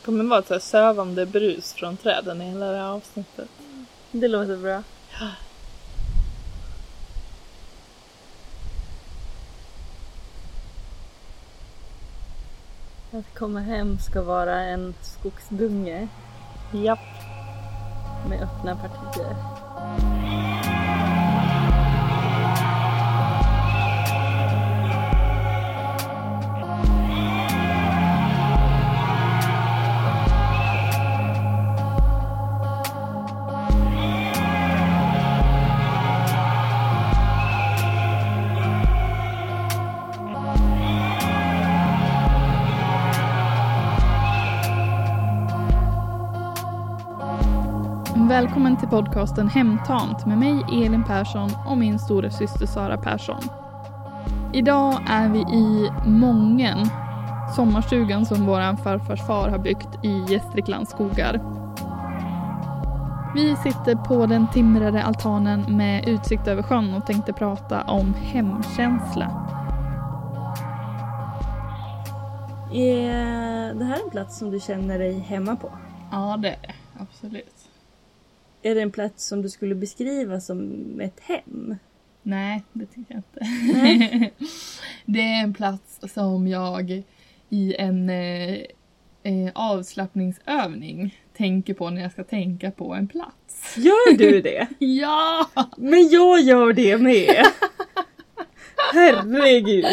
Det kommer vara ett så här sövande brus från träden i hela det här avsnittet. Det låter bra. Att komma hem ska vara en skogsdunge Japp. med öppna partier. Välkommen till podcasten Hemtamt med mig Elin Persson och min stora syster Sara Persson. Idag är vi i Mången, sommarstugan som vår farfars far har byggt i Gästriklands skogar. Vi sitter på den timrade altanen med utsikt över sjön och tänkte prata om hemkänsla. Är det här en plats som du känner dig hemma på? Ja, det är det. Absolut. Är det en plats som du skulle beskriva som ett hem? Nej, det tycker jag inte. det är en plats som jag i en eh, eh, avslappningsövning tänker på när jag ska tänka på en plats. Gör du det? Ja! Men jag gör det med! Herregud!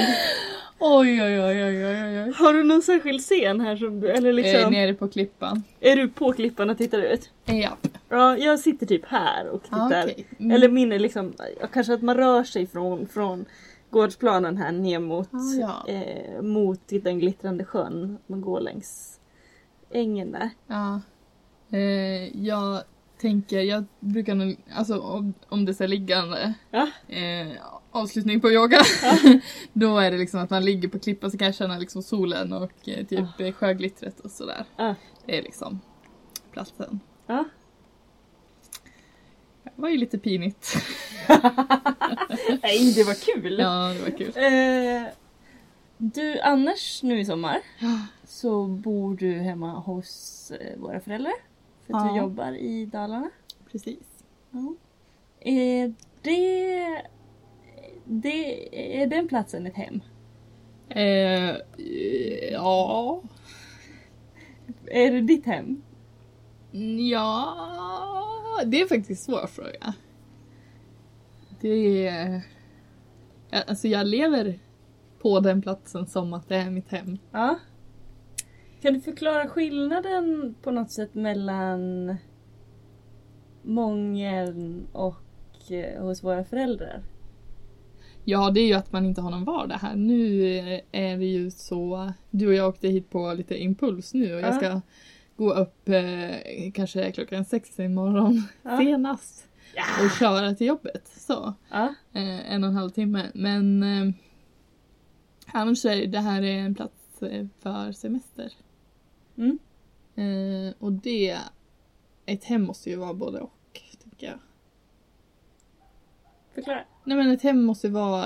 Oj, oj, oj, oj, oj, oj. Har du någon särskild scen här som du, eller liksom, Eh, nere på klippan. är du på klippan och tittar ut? Eh, ja. Ja, jag sitter typ här och Ah, tittar. okej. Mm. Eller min är liksom, ja, kanske att man rör sig från, från gårdsplanen här ner mot, Ah, ja. eh, mot den glittrande sjön. Man går längs ängen där. Ja. Eh, jag tänker, jag brukar nog, alltså om, om det är så här liggande, Ja. eh, avslutning på yoga, då är det liksom att man ligger på klippan så kan jag känna liksom solen och eh, typ eh, sjöglittret och sådär. Ja. Det är liksom platsen. Ja. Det var ju lite pinigt. Nej, det var kul! Ja, det var kul. Eh, du, annars nu i sommar så bor du hemma hos eh, våra föräldrar. För att du Ja. jobbar i Dalarna. Precis. Är det, det, är den platsen ett hem? Eh, ja. Är det ditt hem? Ja, det är faktiskt en svår fråga. Det är... Ja, Alltså jag lever på den platsen som att det är mitt hem. Ja. Kan du förklara skillnaden på något sätt mellan Mången och eh, hos våra föräldrar? Ja, det är ju att man inte har någon vardag här. Nu eh, är det ju så... Du och jag åkte hit på lite impuls nu och jag Ja. ska gå upp eh, kanske klockan sex imorgon Ja. senast och köra till jobbet. Så. Ja. eh, en och en halv timme. Men eh, annars är det här är en plats eh, för semester. Mm. Eh, och det, ett hem måste ju vara både och, tycker jag. Förklara. Nej men ett hem måste ju vara,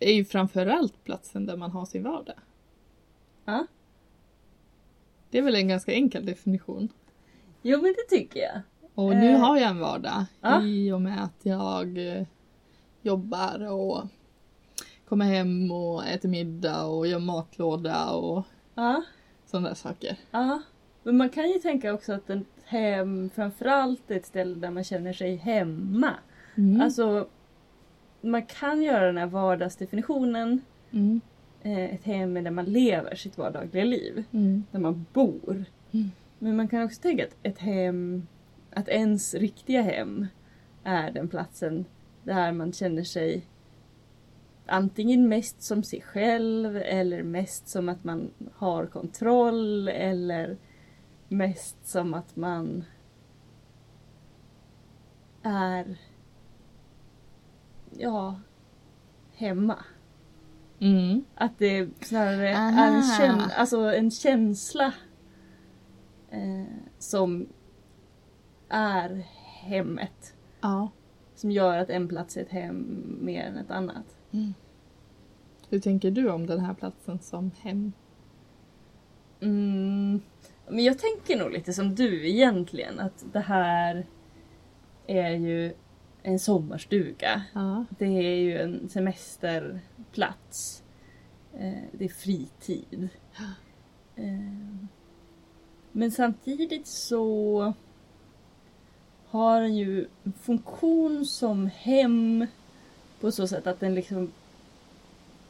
är ju framförallt platsen där man har sin vardag. Ja. Det är väl en ganska enkel definition. Jo men det tycker jag. Och nu Eh. har jag en vardag Ja. i och med att jag eh, jobbar och kommer hem och äter middag och gör matlåda och Ja. sådana där saker. Ja, men man kan ju tänka också att ett hem framförallt är ett ställe där man känner sig hemma. Mm. Alltså, man kan göra den här vardagsdefinitionen. mm. eh, Ett hem är där man lever sitt vardagliga liv, Mm. där man bor. Mm. Men man kan också tänka att ett hem, att ens riktiga hem är den platsen där man känner sig antingen mest som sig själv eller mest som att man har kontroll eller mest som att man är ja, hemma. Mm. Att det snarare Aha. är en, käns- alltså en känsla eh, som är hemmet. Ja. Som gör att en plats är ett hem mer än ett annat. Hur tänker du om den här platsen som hem? Mm. Men jag tänker nog lite som du egentligen att det här är ju en sommarstuga. Ja. Det är ju en semesterplats. Eh, Det är fritid. Eh, Men samtidigt så har den ju en funktion som hem på så sätt att den liksom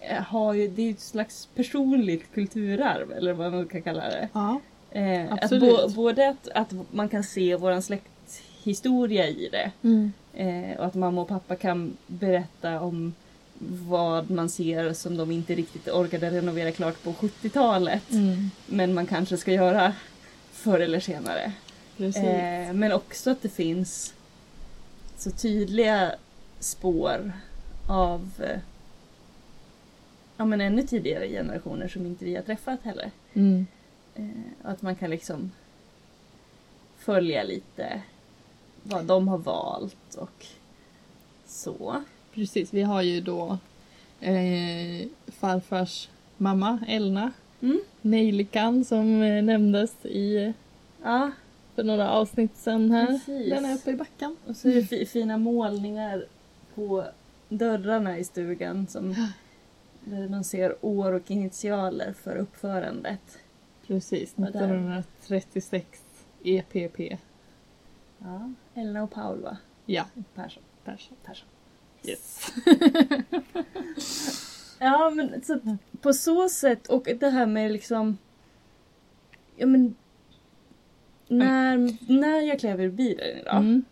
eh, har ju, det är ju ett slags personligt kulturarv eller vad man kan kalla det. ja. Eh, att Absolut. bo, både att, att man kan se våran släkthistoria i det Mm. eh, och att mamma och pappa kan berätta om vad man ser som de inte riktigt orkade renovera klart på 70-talet Mm. men man kanske ska göra förr eller senare. Precis. Eh, men också att det finns så tydliga spår av eh, ja, men ännu tidigare generationer som inte vi har träffat heller. Mm. Eh, och att man kan liksom följa lite vad de har valt och så. Precis, vi har ju då eh, farfars mamma Elna. Mm. Nejlikan som eh, nämndes i, Ja, för några avsnitt sedan här. Precis. Den är uppe i backen. och så är det fi- fina målningar på dörrarna i stugan som där man ser år och initialer för uppförandet. Precis, E Och där. 1936 EPP. Ja, Elna och Paul va? Ja, Persson. Persson. Persson. Yes. Ja, men så, att på så sätt och det här med liksom... Ja, men... När, när jag klev ur bilen idag. Mm.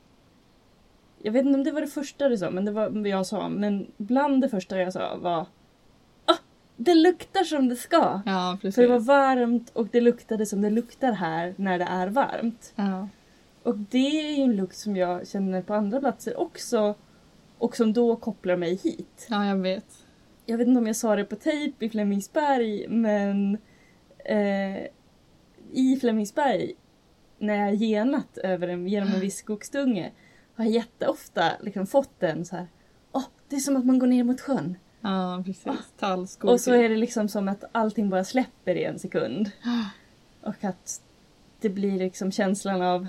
Jag vet inte om det var det första du sa, men det var vad jag sa. Men bland det första jag sa var... Ah, det luktar som det ska! Ja, precis. För det var varmt och det luktade som det luktar här när det är varmt. ja. Och det är ju en lukt som jag känner på andra platser också. Och som då kopplar mig hit. ja, jag vet. jag vet inte om jag sa det på tejp i Flemingsberg, men eh, i Flemingsberg när jag genat över en, genom en viss skogsdunge har jag jätteofta liksom fått den så här. Åh, det är som att man går ner mot sjön. Ja, precis. Tallskog. Och så är det liksom som att allting bara släpper i en sekund. Ah. Och att det blir liksom känslan av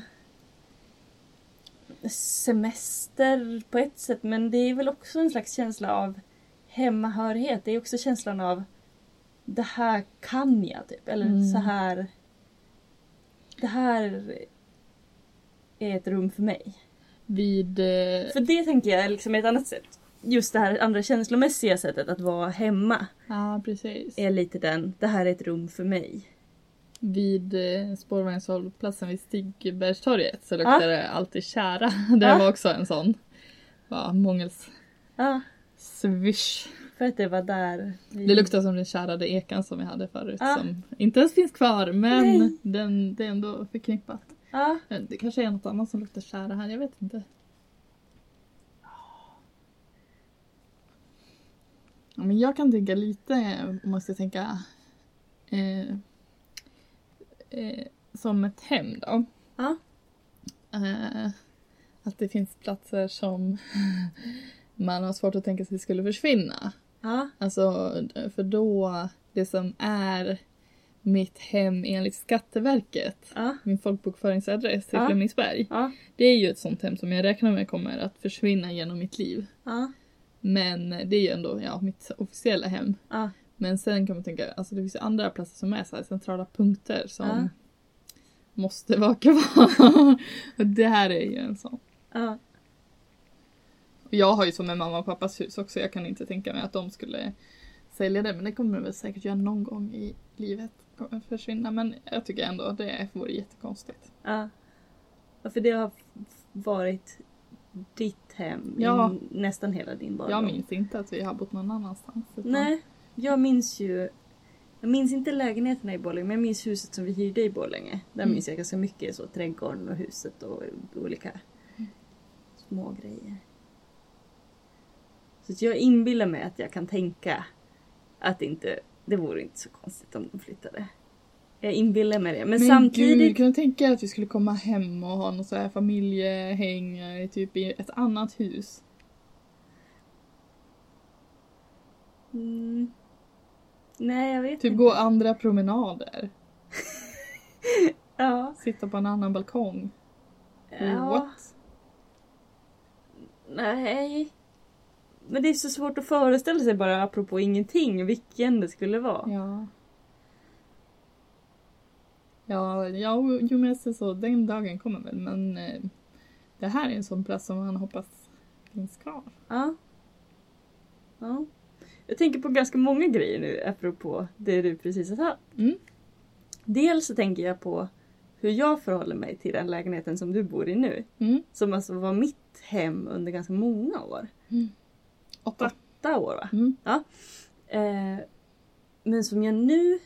semester på ett sätt men det är väl också en slags känsla av hemmahörighet. Det är också känslan av det här kan jag typ. Eller Mm. så här. Det här är ett rum för mig. Vid... Eh, För det tänker jag är liksom ett annat sätt. Just det här andra känslomässiga sättet att vara hemma ja, precis. är lite den, det här är ett rum för mig. Vid eh, spårvagnshållplatsen vid Stigbergstorget så luktar det alltid tjära. Det Ja. var också en sån. Bara mångels Ja, swish. för att det var där vi... Det luktar som den tjärade ekan som vi hade förut Ja. som inte ens finns kvar men Nej. den, det är ändå förknippat. Ja, Men Eh, Det kanske är något annat som luktar tjära här, jag vet inte. Ja, men jag kan tänka lite, om man ska tänka eh, eh, som ett hem då. Ja. Eh, att det finns platser som man har svårt att tänka sig skulle försvinna. ja, Alltså, för då, det som är mitt hem enligt Skatteverket, ja, min folkbokföringsadress i Ja. Flemingsberg, ja, det är ju ett sånt hem som jag räknar med kommer att försvinna genom mitt liv. ja, Men det är ju ändå ja, mitt officiella hem. ja, Men sen kan man tänka, alltså det finns ju andra platser som är så här centrala punkter som Ja. måste vara kvar. och det här är ju en sån. ja. Och Jag har ju så med mamma och pappas hus också, jag kan inte tänka mig att de skulle sälja det. Men det kommer de väl säkert göra någon gång i livet. Kommer försvinna. Men jag tycker ändå att det vore jättekonstigt. Ja. Ja, för det har f- varit ditt hem i Ja. n- nästan hela din barndom. Jag minns inte att vi har bott någon annanstans. utan- Nej, jag minns ju... Jag minns inte lägenheterna i Borlänge, men jag minns huset som vi hyrde i Borlänge. Där Mm. minns jag ganska mycket, så trädgården och huset och olika små grejer. Så att jag inbillar mig att jag kan tänka att det inte, det vore inte så konstigt om de flyttade. Jag inbillar mig det, men, Men samtidigt... gud, kan du tänka dig att vi skulle komma hem och ha något så här familjehäng eh, typ i ett annat hus? Mm. Nej, jag vet Typ inte. gå andra promenader. Ja. Sitta på en annan balkong. ja. What? Nej. Men det är så svårt att föreställa sig bara apropå ingenting vilken det skulle vara. Ja. Ja, ja jo, jo, men jag ser så. Den dagen kommer väl, men eh, det här är en sån plats som man hoppas finns kvar. Ja. ja. Jag tänker på ganska många grejer nu apropå det du precis har sagt. Mm. Dels så tänker jag på hur jag förhåller mig till den lägenheten som du bor i nu. Mm. Som alltså var mitt hem under ganska många år. Åtta. Åtta år va? Mm. Eh, men som jag nu,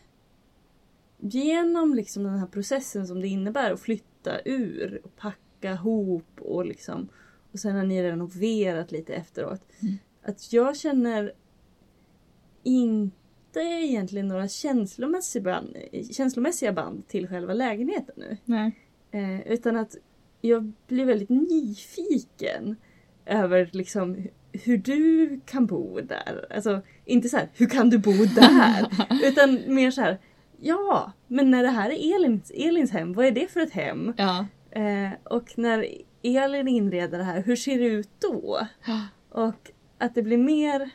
genom liksom den här processen som det innebär att flytta ur och packa ihop och liksom och sen har ni renoverat lite efteråt. Mm. Att jag känner inte egentligen några känslomässiga band, känslomässiga band till själva lägenheten nu. Nej. Eh, utan att jag blir väldigt nyfiken över liksom hu- hur du kan bo där. Alltså inte så här, hur kan du bo där? utan mer så här, ja, men när det här är Elins, Elins hem, vad är det för ett hem? Ja. Eh, och när Elin inreder det här, hur ser det ut då? Och att det blir mer...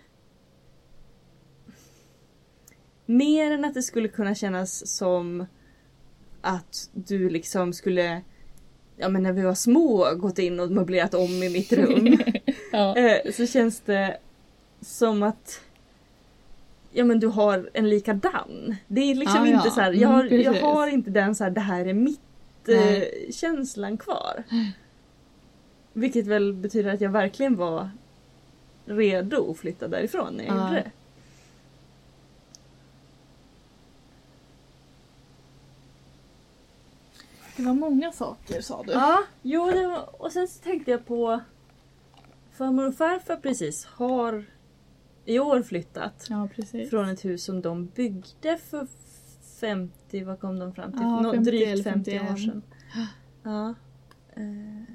Mer än att det skulle kunna kännas som att du liksom skulle, ja men när vi var små, gått in och möblerat om i mitt rum. ja. eh, så känns det som att Ja men du har en likadan. Det är liksom Ah, ja. inte så här, jag, Mm, har, jag precis. har inte den så här, det här är mitt eh, Nej. känslan kvar. Vilket väl betyder att jag verkligen var redo att flytta därifrån när jag Ja. gjorde det. Det var många saker sa du. Ja, jo, det var, och sen så tänkte jag på farmor och farfar precis har i år flyttat Ja, precis. från ett hus som de byggde för 50, vad kom de fram till? Ja, Nå- 50 eller drygt 50 år 51. sedan. Ja. Eh,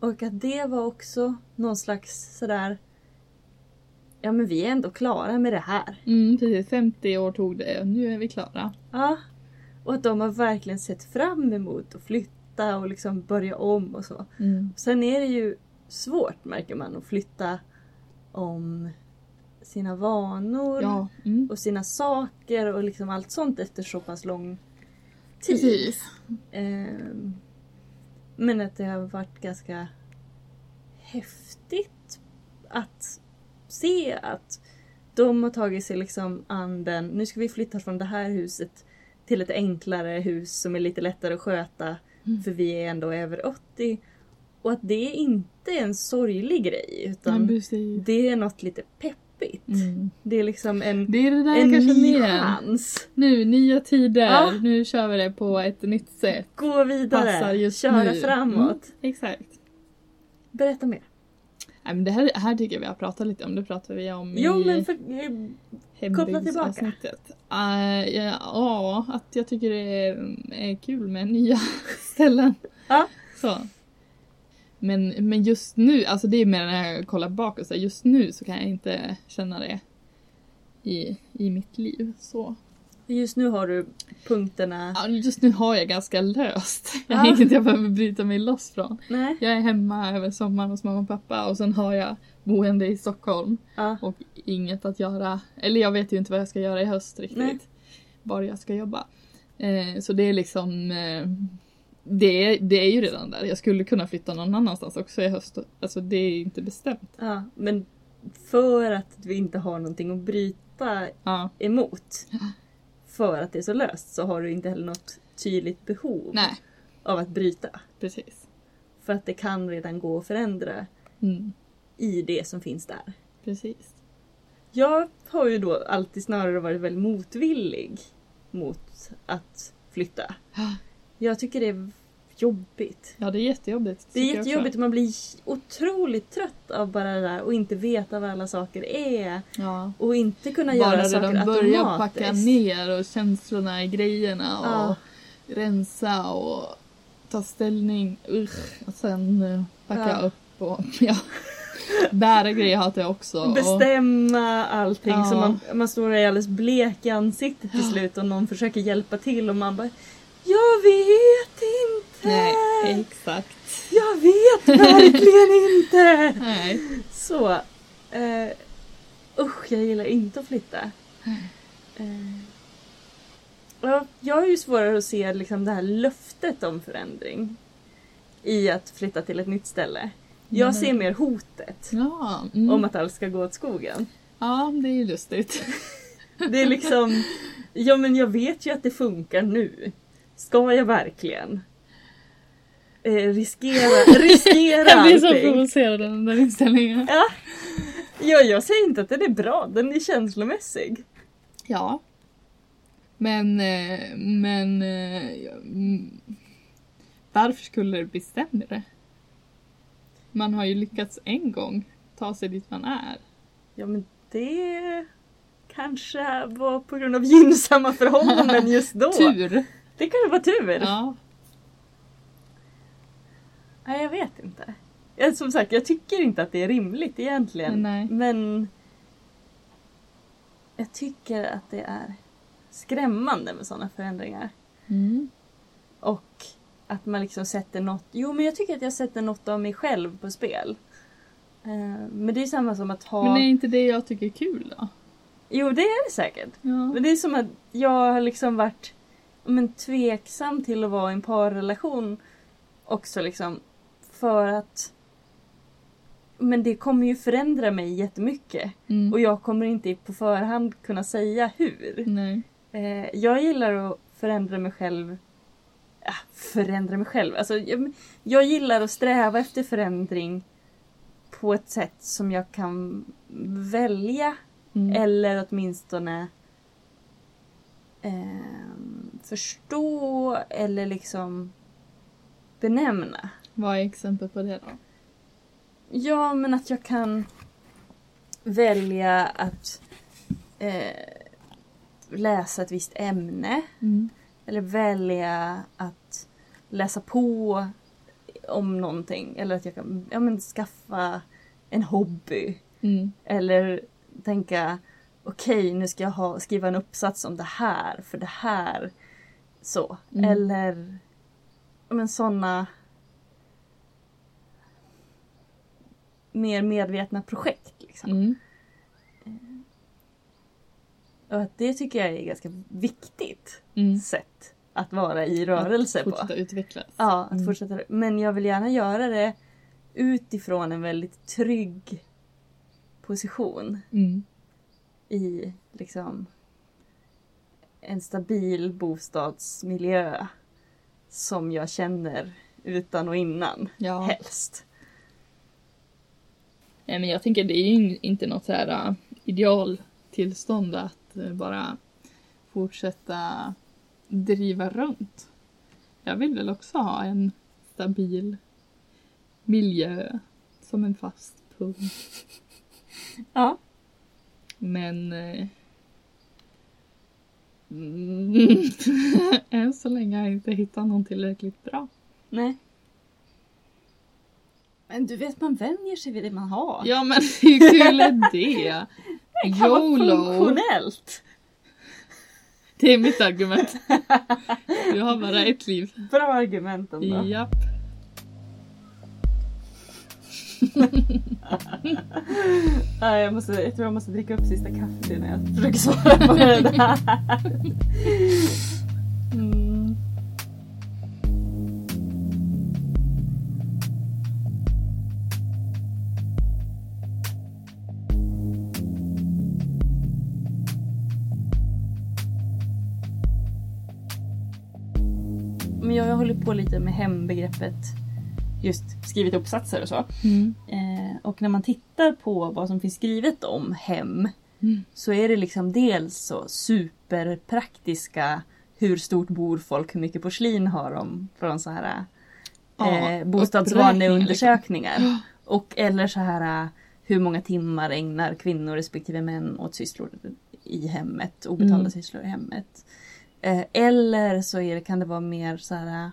Och att det var också någon slags sådär Ja men vi är ändå klara med det här. Mm, precis. 50 år tog det och nu är vi klara. Ja. Och att de har verkligen sett fram emot att flytta och liksom börja om och så. Mm. Sen är det ju svårt märker man att flytta om sina vanor Ja. Mm. och sina saker och liksom allt sånt efter så pass lång tid. Precis. Ehm, men att det har varit ganska häftigt att se att de har tagit sig liksom an den, nu ska vi flytta från det här huset till ett enklare hus som är lite lättare att sköta Mm. för vi är ändå över 80. Och att det inte är en sorglig grej utan Men precis. det är något lite peppigt. Mm. Det är liksom en, Det är det där en kanske ny nya. chans. Nu, nya tider. Ja. Nu kör vi det på ett nytt sätt. Gå Passar vidare, just köra nu. framåt. Mm, exakt. Berätta mer. Nej, men det här, här tycker jag vi har pratat lite om. Det pratade vi om Mm. Jo i men för, koppla tillbaka. hembygdsavsnittet. Eh, ja, ja, att jag tycker det är, är kul med nya ställen. Ja. Så. Men, men just nu, alltså det är mer när jag kollar bakåt, så här, just nu så kan jag inte känna det i, i mitt liv. Så. just nu har du punkterna. Ja, Just nu har jag ganska löst. Jag Ja. har inget jag behöver bryta mig loss från. Nej. Jag är hemma över sommaren hos mamma och pappa och sen har jag boende i Stockholm Ja. och inget att göra. Eller jag vet ju inte vad jag ska göra i höst riktigt. Nej. Bara jag ska jobba. Eh, så det är liksom eh, det, är, det är ju redan där. Jag skulle kunna flytta någon annanstans också i höst. Alltså det är inte bestämt. ja. Men för att vi inte har någonting att bryta Ja. emot. För att det är så löst så har du inte heller något tydligt behov Nej, av att bryta. precis. För att det kan redan gå att förändra Mm, i det som finns där. precis. Jag har ju då alltid snarare varit väldigt motvillig mot att flytta. Jag tycker det är jobbigt. Ja, det är jättejobbigt. Det är tycker jag också. jättejobbigt och man blir otroligt trött av bara det där och inte veta vad alla saker är. Ja. Och inte kunna Bara göra saker redan börja automatiskt. packa ner och känslorna i grejerna och Ja. rensa och ta ställning. Usch. Och sen eh, packa Ja. upp och ja. bära grejer hatar jag också. Bestämma allting Ja. så man, man står där alldeles blek i ansiktet till slut och någon försöker hjälpa till och man bara Jag vet inte! Nej, exakt. Jag vet verkligen inte! Nej. Så. Eh, usch, jag gillar inte att flytta. Eh, ja, jag har ju svårare att se liksom, det här löftet om förändring i att flytta till ett nytt ställe. Jag Mm. ser mer hotet Ja, mm. om att allt ska gå åt skogen. ja, det är ju lustigt. Det är liksom, ja men jag vet ju att det funkar nu. Ska jag verkligen? Eh, riskera, riskera Jag blir så allting. provocerad av den där inställningen. Ja, jag säger inte att den är bra, den är känslomässig. Ja. Men, eh, men... eh, ja, mm. Varför skulle det bli sämre? Man har ju lyckats en gång ta sig dit man är. Ja men det kanske var på grund av gynnsamma förhållanden just då. Tur! Det kanske var tur. Ja. Nej jag vet inte. Ja, Som sagt jag tycker inte att det är rimligt egentligen. Nej. Men jag tycker att det är skrämmande med sådana förändringar. Mm. Och att man liksom sätter något, jo men jag tycker att jag sätter något av mig själv på spel. Eh, Men det är ju samma som att ha, Men är inte det jag tycker är kul då? jo det är det säkert. Ja. Men det är som att jag har liksom varit ja, men, tveksam till att vara i en parrelation också liksom. För att men det kommer ju förändra mig jättemycket Mm. och jag kommer inte på förhand kunna säga hur. Nej. Eh, jag gillar att förändra mig själv. Ja, förändra mig själv. Alltså, jag, men, jag gillar att sträva efter förändring på ett sätt som jag kan välja Mm. eller åtminstone ehm, förstå eller liksom benämna. Vad är exempel på det då? Ja, men att jag kan välja att eh, läsa ett visst ämne. Mm. Eller välja att läsa på om någonting. Eller att jag kan ja, men skaffa en hobby. Mm. Eller tänka okej nu ska jag ha, skriva en uppsats om det här för det här. Så. Mm. Eller ja, men sådana mer medvetna projekt. Liksom. Mm. Och att det tycker jag är ganska viktigt Mm. sätt att vara i rörelse att på. fortsätta utvecklas. Ja, att Mm. fortsätta. Men jag vill gärna göra det utifrån en väldigt trygg position. Mm. i liksom en stabil bostadsmiljö som jag känner utan och innan, Ja. helst. Nej Eh, men jag tänker det är ju in- inte något så här äh, idealtillstånd att äh, bara fortsätta driva runt. Jag vill väl också ha en stabil miljö som en fast punkt. Ja. Men äh, mm, än så länge har jag inte hittat någon tillräckligt bra. Nej. Men du vet, man vänjer sig vid det man har. Ja men hur kul är det? det kan vara YOLO! funktionellt. Det är mitt argument. Du har bara ett liv. Bra argument ändå. Japp. Ja, jag, måste, jag tror jag måste dricka upp sista kaffet innan jag försöker svara på det där. Mm. Men jag har hållit på lite med hembegreppet, just skrivit uppsatser och så. Mm. Eh, och när man tittar på vad som finns skrivet om hem Mm. så är det liksom dels så superpraktiska hur stort bor folk, hur mycket porslin har de från så här eh, Ja, bostadsvaneundersökningar. Och eller så här eh, hur många timmar ägnar kvinnor respektive män åt sysslor i hemmet, obetalda Mm. sysslor i hemmet. Eh, eller så är det, kan det vara mer så här eh,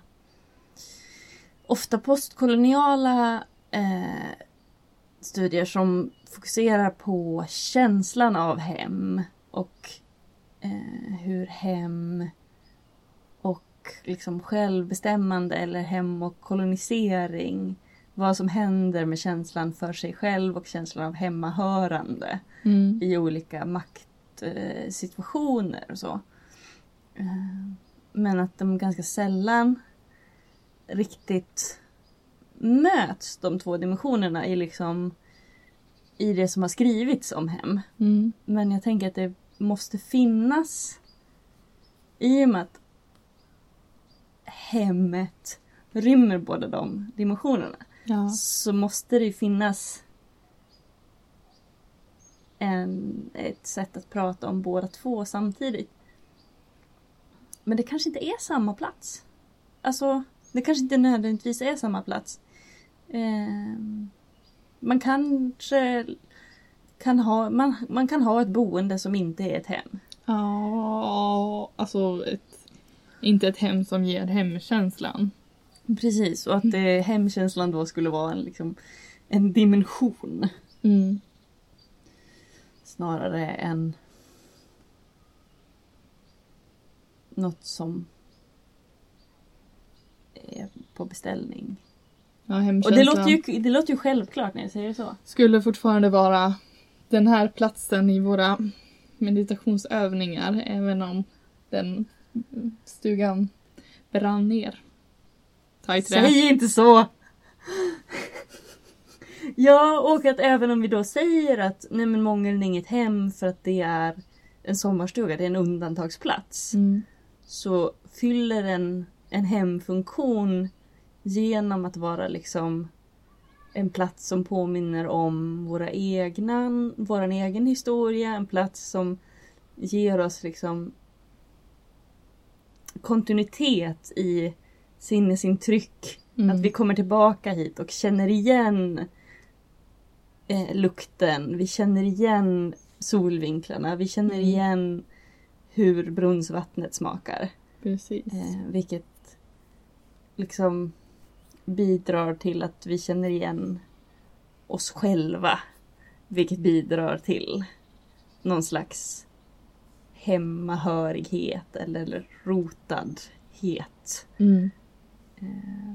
ofta postkoloniala eh, studier som fokuserar på känslan av hem och eh, hur hem och liksom självbestämmande eller hem och kolonisering. Vad som händer med känslan för sig själv och känslan av hemmahörande Mm. i olika maktsituationer och så. Eh, Men att de ganska sällan riktigt möts, de två dimensionerna, i, liksom, i det som har skrivits om hem. Mm. Men jag tänker att det måste finnas i och med att hemmet rymmer båda de dimensionerna Ja. så måste det ju finnas en, ett sätt att prata om båda två samtidigt. Men det kanske inte är samma plats. Alltså, det kanske inte nödvändigtvis är samma plats. Ehm, man kanske kan ha, man, man kan ha ett boende som inte är ett hem. Ja, alltså ett, inte ett hem som ger hemkänslan. Precis, och att eh, hemkänslan då skulle vara en, liksom, en dimension Mm. snarare än något som är på beställning. Ja, Och hemkänslan det låter, ju, det låter ju självklart när jag säger det så. skulle fortfarande vara den här platsen i våra meditationsövningar även om den stugan brann ner. Ta i trä. Säg inte så! ja, och att även om vi då säger att nej men Mången är inget hem för att det är en sommarstuga, det är en undantagsplats. Mm. så fyller en, en hemfunktion genom att vara liksom en plats som påminner om våra egna, vår egen historia, en plats som ger oss liksom kontinuitet i sinnesintryck. Mm. Att vi kommer tillbaka hit och känner igen eh, lukten, vi känner igen solvinklarna, vi känner Mm. igen hur brunnsvattnet smakar. Precis. Eh, vilket liksom bidrar till att vi känner igen oss själva. Vilket bidrar till någon slags hemmahörighet eller rotadhet. Mm. Eh,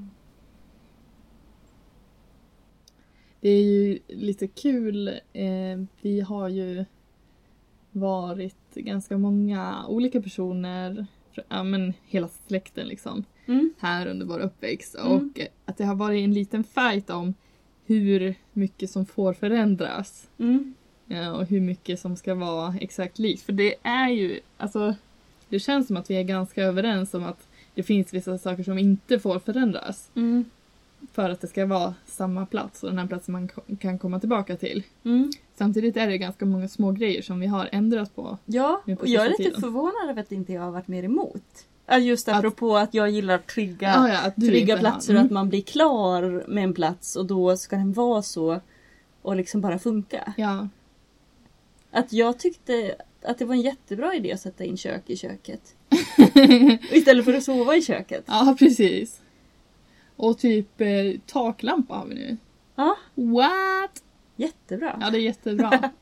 Det är ju lite kul. Eh, vi har ju varit ganska många olika personer, fr- ja men hela släkten liksom, Mm. här under vår uppväxt. Mm. Och eh, att det har varit en liten fight om hur mycket som får förändras. Mm. Ja, Eh, och hur mycket som ska vara exakt likt. För det är ju, alltså det känns som att vi är ganska överens om att det finns vissa saker som inte får förändras Mm. för att det ska vara samma plats och den här platsen man ko- kan komma tillbaka till. Mm. Samtidigt är det ganska många små grejer som vi har ändrat på. Ja, Nu på och jag är sista lite tiden. förvånad över att inte jag har varit mer emot. Ja, Just apropå att, jag gillar trygga, Ah, ja, att du inte trygga har- platser och mm. att man blir klar med en plats och då ska den vara så och liksom bara funka. Ja, Att jag tyckte att det var en jättebra idé att sätta in kök i köket. Och Istället för att sova i köket. ja precis. Och typ eh, taklampa har vi nu. Ja. What? Jättebra. Ja, det är jättebra.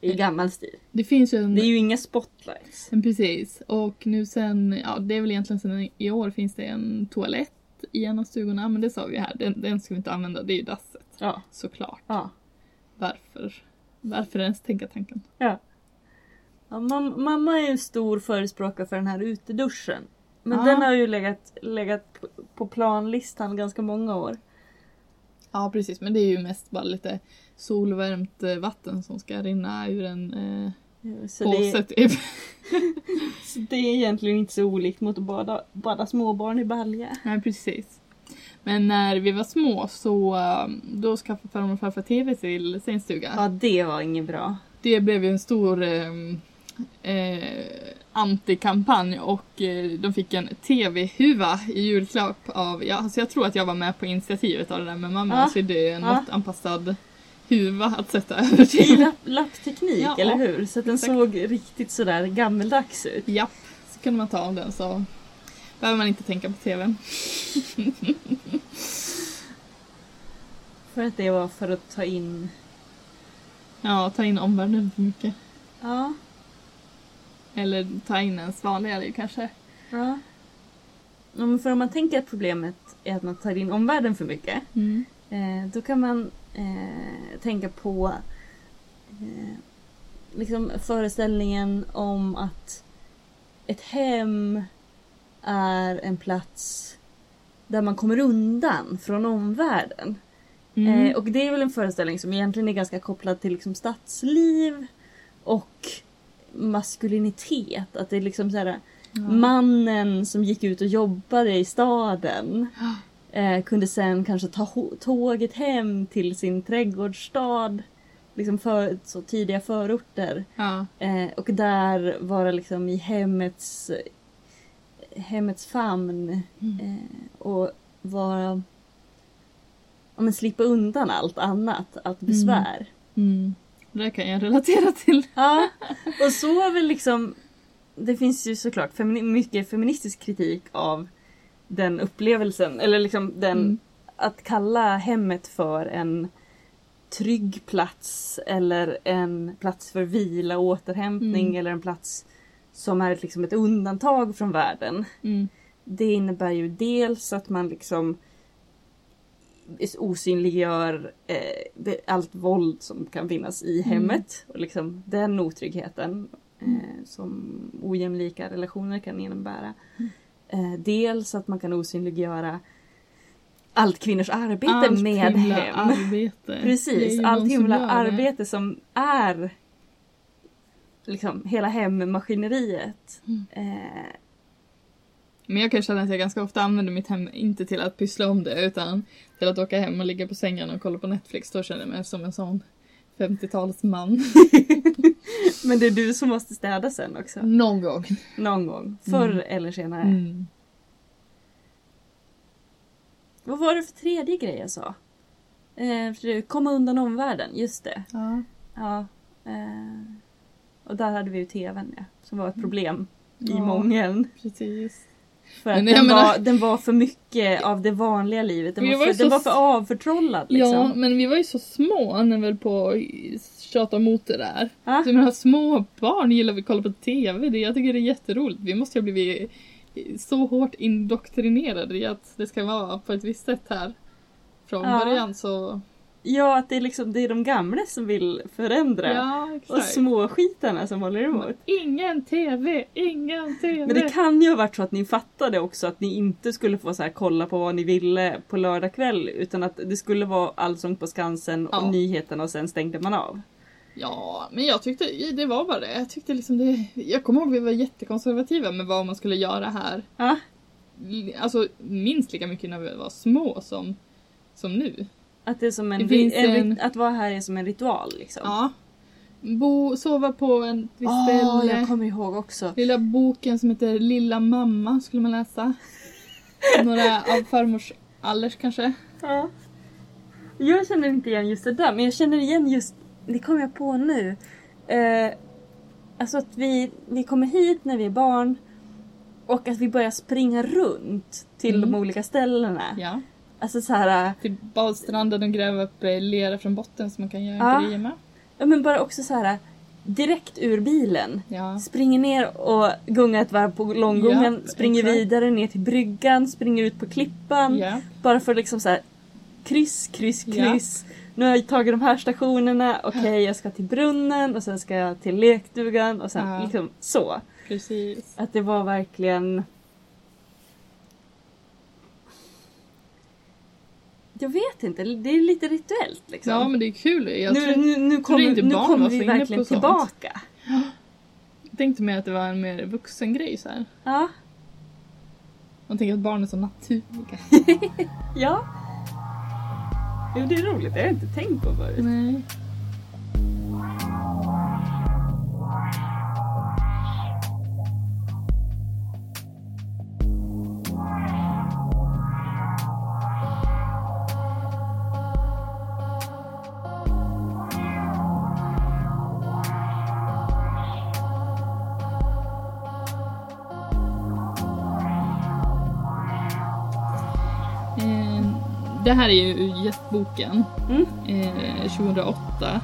I gammal stil. Det finns ju en... Det är ju inga spotlights. Men Precis. Och nu sen, ja det är väl egentligen sen i år finns det en toalett i en av stugorna, men det sa vi här, den, den ska vi inte använda, det är ju dasset. Ja. Såklart. ja. Varför? Varför ens tänka tanken? Ja, mam mamma är ju en stor förespråkare för den här uteduschen. Men Ah. den har ju legat, legat p- på planlistan ganska många år. Ja precis, men det är ju mest bara lite solvärmt eh, vatten som ska rinna ur en eh, Så påse det, typ. så det är egentligen inte så olikt mot att bada, bada småbarn i balja. Nej precis. Men när vi var små så eh, då skaffade farmor och farfar TV till sin stuga. Ja, det var inget bra. Det blev ju en stor eh, eh, antikampanj och eh, de fick en TV-huva i julklapp av, ja, alltså jag tror att jag var med på initiativet av det där med mamma, Ja. så det är en Ja. måttanpassad huva att sätta över I till. lapp, lappteknik, Ja, eller hur? Så att den exakt. såg riktigt sådär gammeldags ut. Japp, så kunde man ta av den så behöver man inte tänka på TVn. För att det var för att ta in... Ja, ta in omvärlden för mycket. Ja. Eller ta in ens vanliga liv kanske. Ja. Ja, men för om man tänker att problemet är att man tar in omvärlden för mycket. Mm. Eh, då kan man eh, tänka på eh, liksom föreställningen om att ett hem är en plats där man kommer undan från omvärlden. Mm. Eh, och det är väl en föreställning som egentligen är ganska kopplad till liksom stadsliv och maskulinitet. Att det är liksom så här, mannen som gick ut och jobbade i staden Ja. eh, kunde sen kanske ta ho- tåget hem till sin trädgårdsstad. Liksom för, så tidiga förorter. Ja. Eh, och där vara liksom i hemmets, hemmets famn. Eh, och vara... Ja, men slippa undan allt annat, allt besvär. Mm. Det där kan jag relatera till. Ja, och så har väl liksom... Det finns ju såklart femini- mycket feministisk kritik av den upplevelsen, eller liksom den... Mm. Att kalla hemmet för en trygg plats eller en plats för vila och återhämtning Mm. eller en plats som är ett- liksom ett undantag från världen. Mm. Det innebär ju dels att man liksom osynliggör eh, det- allt våld som kan finnas i Mm. hemmet. Och liksom den otryggheten eh, som ojämlika relationer kan innebära. Mm. Eh, dels att man kan osynliggöra allt kvinnors arbete Allt med himla hem. arbete. Det är Precis, ju allt någon som himla gör det. arbete som är liksom hela hemmaskineriet. Mm. Eh, Men jag kan känna att jag ganska ofta använder mitt hem inte till att pyssla om det utan till att åka hem och ligga på sängen och kolla på Netflix. Då känner jag mig som en sån 50-talsman. men det är du som måste städa sen också. Någon gång. Någon gång. Förr Mm. eller senare. Mm. Vad var det för tredje grej jag sa? Eh, för det- komma undan omvärlden, just det. Ja. Ja. Eh, och där hade vi ju tvn ja, som var ett problem i Mm. Ja. mången. Precis. För att Men den, jag menar- var, den var för mycket av det vanliga livet. Den, var, Men jag var för, ju den så- var för avförtrollad Ja, liksom. men vi var ju så små när vi höll på och tjata emot det där. Ja. Så jag menar, små barn gillar vi att kolla på TV. Det, jag tycker det är jätteroligt. Vi måste ju ha blivit eh, så hårt indoktrinerade i att det ska vara på ett visst sätt här. Från Ja. början så... Ja, att det är, liksom, det är de gamla som vill förändra. Ja, och exakt. småskitarna som håller emot. Ingen TV, ingen TV. Men det kan ju ha varit så att ni fattade också att ni inte skulle få så här kolla på vad ni ville på lördag kväll utan att det skulle vara Allsång på Skansen och Ja. nyheterna och sen stängde man av. Ja, men jag tyckte det var bara det. Jag tyckte liksom det... Jag kommer ihåg vi var jättekonservativa med vad man skulle göra här. Ja, Alltså minst lika mycket när vi var små som, som nu. att det är som en, Det ri- finns en, rit- en- att vara här är som en ritual liksom. Ja. Bo, sova på en visst Åh, ställe. jag kommer ihåg också. Lilla boken som heter Lilla mamma skulle man läsa. Några av farmors allers kanske. Ja. Jag känner inte igen just det där, men jag känner igen just, det kommer jag på nu. Eh, alltså att vi, vi kommer hit när vi är barn och att vi börjar springa runt till Mm. de olika ställena. Ja. Alltså så här, eh, Till Typ badstranden och gräva upp eh, lera från botten som man kan göra Ja. grejer med. ja men bara också så här eh, direkt ur bilen. Ja. Springer ner och gungar ett varv på långgången, Japp, springer exakt. vidare ner till bryggan, springer ut på klippan. Ja. Bara för liksom så här kryss, kryss, Ja. kryss. Nu har jag tagit de här stationerna, okej jag ska till brunnen och sen ska jag till lekstugan och sen Ja. liksom så. Precis. Att det var verkligen... Jag vet inte, det är lite rituellt liksom. Ja men det är kul. Jag nu, tror, nu, nu trodde kommer inte nu barn kommer var vi så inne verkligen på sånt. tillbaka. tänkte mig att det var en mer vuxen grej så här. Ja, Man tänker att barn är så naturliga. ja. Jo, det är roligt, det har jag inte tänkt på förut. Nej. Eh, Det här är ju ur gästboken. Mm. eh, 2008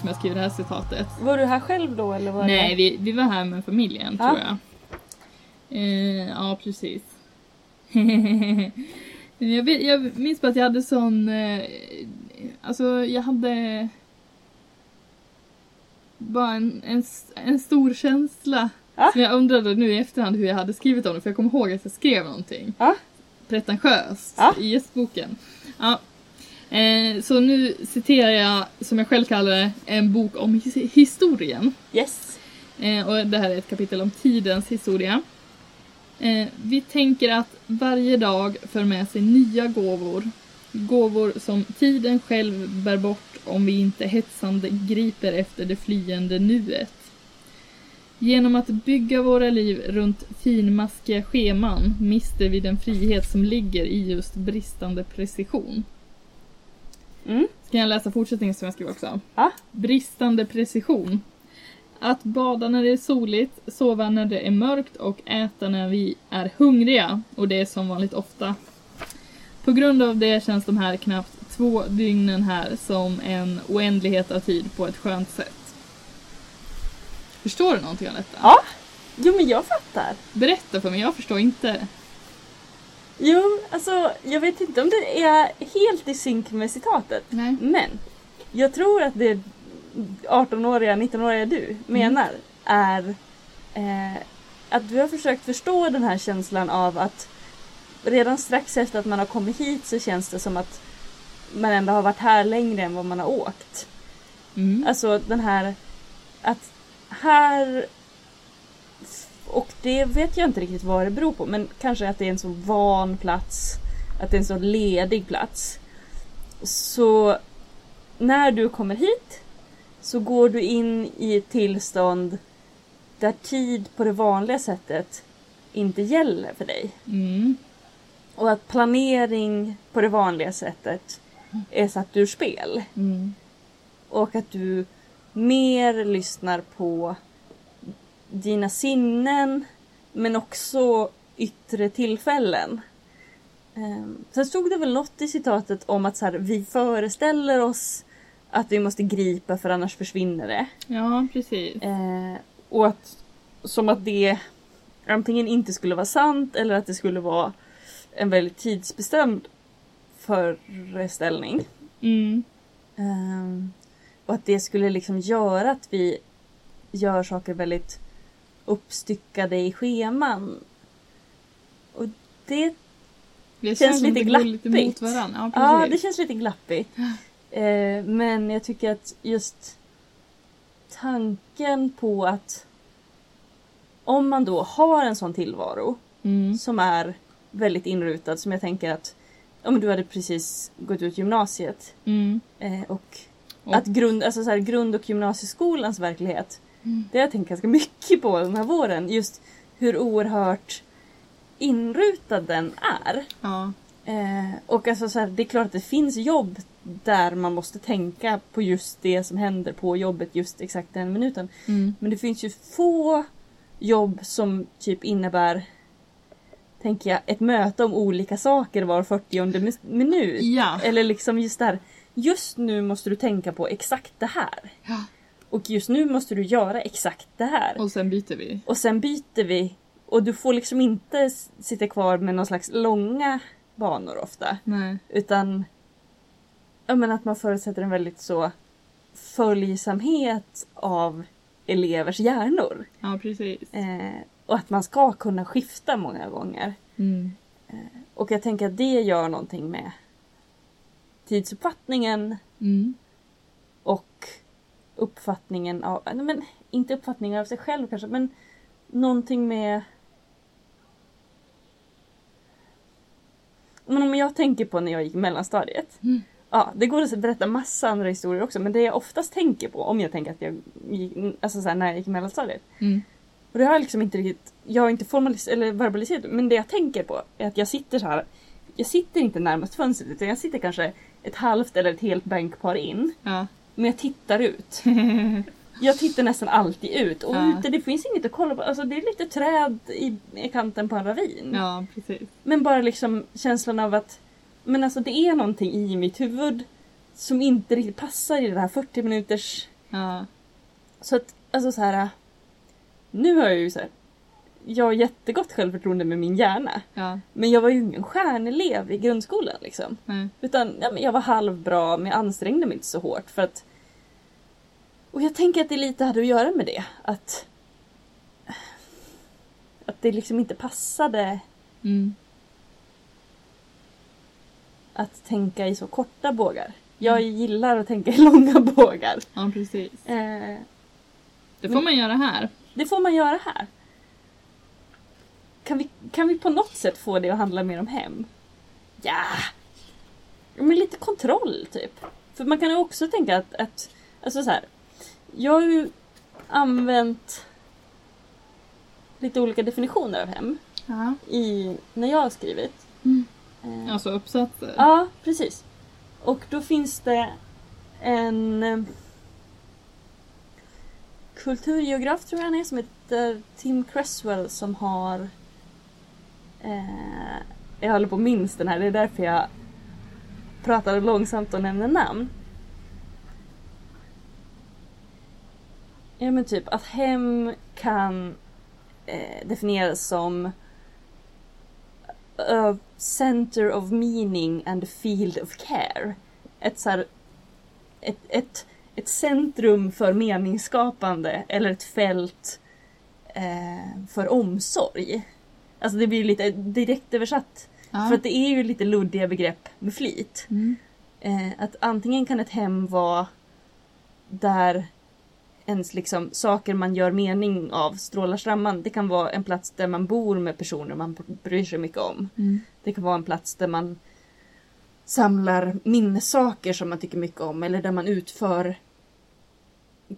som jag skrev det här citatet. Var du här själv då eller var Nej, det... vi, vi var här med familjen Ja. tror jag. Eh, ja, precis. jag, vet, jag minns bara att jag hade sån... Eh, alltså, jag hade... Bara en, en, s- en stor känsla. Ja. Som jag undrade nu i efterhand hur jag hade skrivit om det, för jag kommer ihåg att jag skrev någonting. Ja. Pretentiöst Ja. i gästboken. Ja. Eh, så nu citerar jag, som jag själv kallar det, en bok om his- historien. Yes. Eh, och det här är ett kapitel om tidens historia. Eh, vi tänker att varje dag för med sig nya gåvor. Gåvor som tiden själv bär bort om vi inte hetsande griper efter det flyende nuet. Genom att bygga våra liv runt finmaskiga scheman mister vi den frihet som ligger i just bristande precision. Mm. Ska jag läsa fortsättningen som jag skrev också? Ja. Bristande precision. Att bada när det är soligt, sova när det är mörkt och äta när vi är hungriga. Och det är som vanligt ofta. På grund av det känns de här knappt två dygnen här som en oändlighet av tid på ett skönt sätt. Förstår du någonting av detta? Ja. Jo men jag fattar. Berätta för mig, jag förstår inte. Jo, alltså jag vet inte om det är helt i synk med citatet. Nej. Men jag tror att det 18-åriga, 19-åriga du menar är eh, att du har försökt förstå den här känslan av att redan strax efter att man har kommit hit så känns det som att man ändå har varit här längre än vad man har åkt. Mm. Alltså den här att här och det vet jag inte riktigt vad det beror på men kanske att det är en så van plats, att det är en så ledig plats. Så när du kommer hit så går du in i ett tillstånd där tid på det vanliga sättet inte gäller för dig. Mm. Och att planering på det vanliga sättet är satt ur spel. Mm. Och att du mer lyssnar på dina sinnen men också yttre tillfällen. Ehm, Sen stod det väl något i citatet om att så här, vi föreställer oss att vi måste gripa för annars försvinner det. Ja, precis. Eh, och att som att det antingen inte skulle vara sant eller att det skulle vara en väldigt tidsbestämd föreställning. Mm. Ehm, och att det skulle liksom göra att vi gör saker väldigt uppstyckade i scheman. Och det, Det känns, Känns som att lite det går lite mot glappigt. varandra. Ja, ja, det precis. känns lite glappigt. Eh, men jag tycker att just tanken på att om man då har en sån tillvaro Mm. som är väldigt inrutad som jag tänker att om du hade precis gått ut gymnasiet Mm. eh, och Och- Att grund, alltså så här, grund och gymnasieskolans verklighet, Mm. det har jag tänkt ganska mycket på den här våren. Just hur oerhört inrutad den är. Ja. Eh, och alltså så här, det är klart att det finns jobb där man måste tänka på just det som händer på jobbet just exakt den minuten. Mm. Men det finns ju få jobb som typ innebär, tänker jag, ett möte om olika saker var 40 mis- minut. Ja. Eller liksom just det här. Just nu måste du tänka på exakt det här. Ja. Och just nu måste du göra exakt det här. Och sen byter vi. Och sen byter vi. Och du får liksom inte s- sitta kvar med någon slags långa banor ofta. Nej. Utan ja, men att man förutsätter en väldigt så följsamhet av elevers hjärnor. Ja, precis. Eh, och att man ska kunna skifta många gånger. Mm. Och jag tänker att det gör någonting med tidsuppfattningen Mm. och uppfattningen av, nej men inte uppfattningen av sig själv kanske, men någonting med... Men om jag tänker på när jag gick i mellanstadiet. Mm. Ja, det går att berätta massa andra historier också, men det jag oftast tänker på om jag tänker att jag gick, alltså så här, när jag gick i mellanstadiet. Mm. Och det har jag liksom inte riktigt, jag har inte formaliserat eller verbaliserat men det jag tänker på är att jag sitter så här. Jag sitter inte närmast fönstret utan jag sitter kanske ett halvt eller ett helt bänkpar in. Ja. Men jag tittar ut. Jag tittar nästan alltid ut. Och Ja. ute, det finns inget att kolla på. Alltså, det är lite träd i, i kanten på en ravin. ja, precis. Men bara liksom känslan av att men alltså, det är någonting i mitt huvud som inte riktigt passar i den här 40 minuters... Ja. Så att, alltså så här... Nu har jag ju så här, jag har jättegott självförtroende med min hjärna. Ja, Men jag var ju ingen stjärnelev i grundskolan liksom. nej. Utan ja, men jag var halvbra men jag ansträngde mig inte så hårt för att... Och jag tänker att det lite hade att göra med det. Att... Att det liksom inte passade Mm. att tänka i så korta bågar. Jag gillar att tänka i långa bågar. Ja, precis. Eh, Det Mm. får man göra här. det får man göra här. Kan vi, kan vi på något sätt få det att handla mer om hem? Ja! Ja, Men lite kontroll, typ. För man kan ju också tänka att... att alltså så här, jag har ju använt lite olika definitioner av hem Ja. i, när jag har skrivit. Mm. Eh, Alltså uppsatser. Ja, precis. Och då finns det en eh, kulturgeograf tror jag han är som heter Tim Cresswell som har... Eh, jag håller på att minns den här, det är därför jag pratar långsamt och nämner namn. Ja men typ att hem kan eh, definieras som a uh, center of meaning and a field of care. Ett, så här, ett, ett, ett centrum för meningsskapande eller ett fält eh, för omsorg. Alltså det blir ju lite direkt översatt. Ja. För att det är ju lite luddiga begrepp med flit. Mm. Eh, att antingen kan ett hem vara där ens liksom saker man gör mening av strålar samman. Det kan vara en plats där man bor med personer man bryr sig mycket om. Mm. Det kan vara en plats där man samlar minnessaker som man tycker mycket om eller där man utför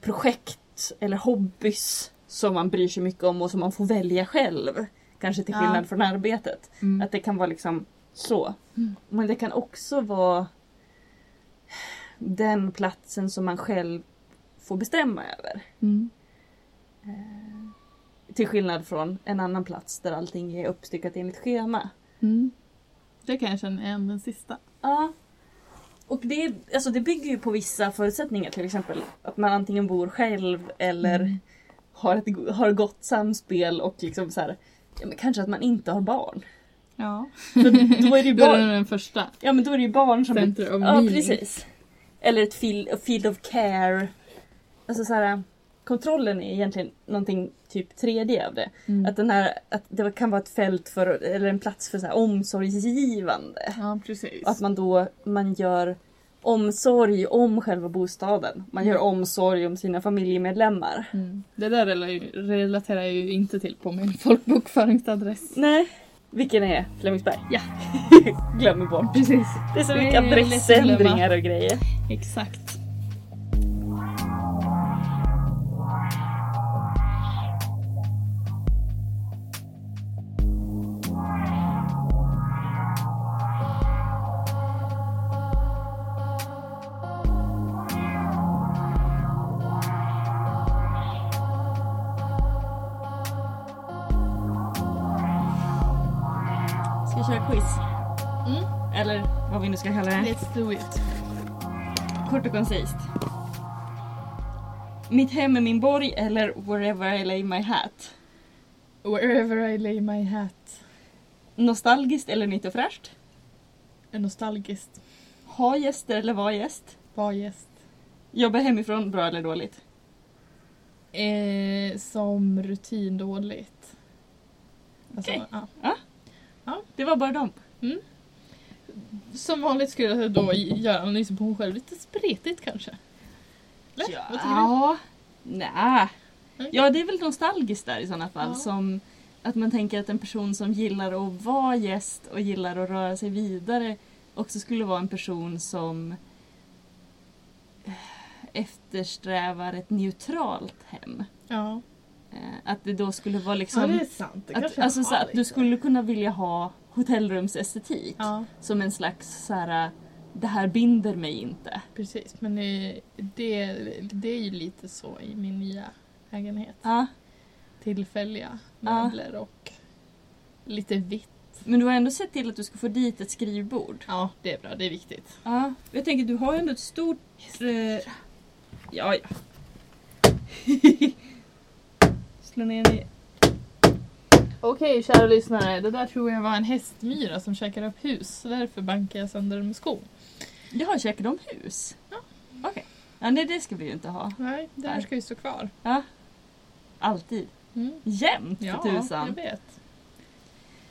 projekt eller hobbys som man bryr sig mycket om och som man får välja själv. Kanske till Ja. skillnad från arbetet. Mm. Att det kan vara liksom så. Mm. Men det kan också vara den platsen som man själv får bestämma över. Mm. Till skillnad från en annan plats där allting är uppstyckat enligt schema. Mm. Det kan jag känna igen den sista. Ja. Och det, alltså det bygger ju på vissa förutsättningar till exempel att man antingen bor själv eller Mm. har ett go- har gott samspel och liksom så här, ja, men kanske att man inte har barn. Ja. För då är det ju Då är det barn, den första. ja, men då är det ju barn som... Center of ja, meaning. precis. Eller ett field, a field of care. Alltså så här, kontrollen är egentligen någonting typ tredje av det. Mm. Att, den här, att det kan vara ett fält för, eller en plats för så här, omsorgsgivande. Ja, precis. Och Att man då man gör omsorg om själva bostaden. Man gör omsorg om sina familjemedlemmar. Mm. Det där rela- relaterar jag ju inte till på min folkbokföringsadress. Nej. Vilken är Flemingsberg? Ja. Glömmer bort. Precis. Det är så Det mycket är lätt att adressändringar glömma. och grejer. Exakt. Ska vi köra quiz? Mm. Eller vad vi nu ska kalla det. Let's do it. Kort och koncist. Mitt hem är min borg eller wherever I lay my hat. Wherever I lay my hat. Nostalgiskt eller nytt och fräscht. Nostalgiskt. Ha gäster eller vara gäst. Var gäst. Jobba hemifrån, bra eller dåligt. Eh, som rutindåligt. Alltså, Okej. ja. Det var bara dem. Som vanligt skulle jag då göra analysen på hon själv lite spretigt kanske. Eller? Vad tycker du? Ja. Nä. Nej. Ja, det är väl nostalgiskt där i sådana fall. Ja. Som att man tänker att en person som gillar att vara gäst och gillar att röra sig vidare också skulle vara en person som eh, eftersträvar ett neutralt hem. Ja. Eh, Att det då skulle vara liksom... sant. Det att, alltså, så att du skulle kunna vilja ha hotellrumsestetik Ja, som en slags så här, eh, det här binder mig inte. precis. Men eh, det, det är ju lite så i min nya lägenhet. Ja. Tillfälliga Ja. möbler och lite vitt. Men du har ändå sett till att du ska få dit ett skrivbord. Ja, det är bra. Det är viktigt. Ja, jag tänker du har ju ändå ett stort... Eh, ja, ja. Slå ner den i Okej, kära lyssnare. Det där tror jag var en hästmyra som käkar upp hus. Därför bankar jag sönder den med skon. Jaha, käkar de hus? Ja. Okej. Ja, nej, det ska vi ju inte ha. Nej, det här ska ju stå kvar. Ja. Alltid. Mm. Jämt för Ja, jag tusan. vet.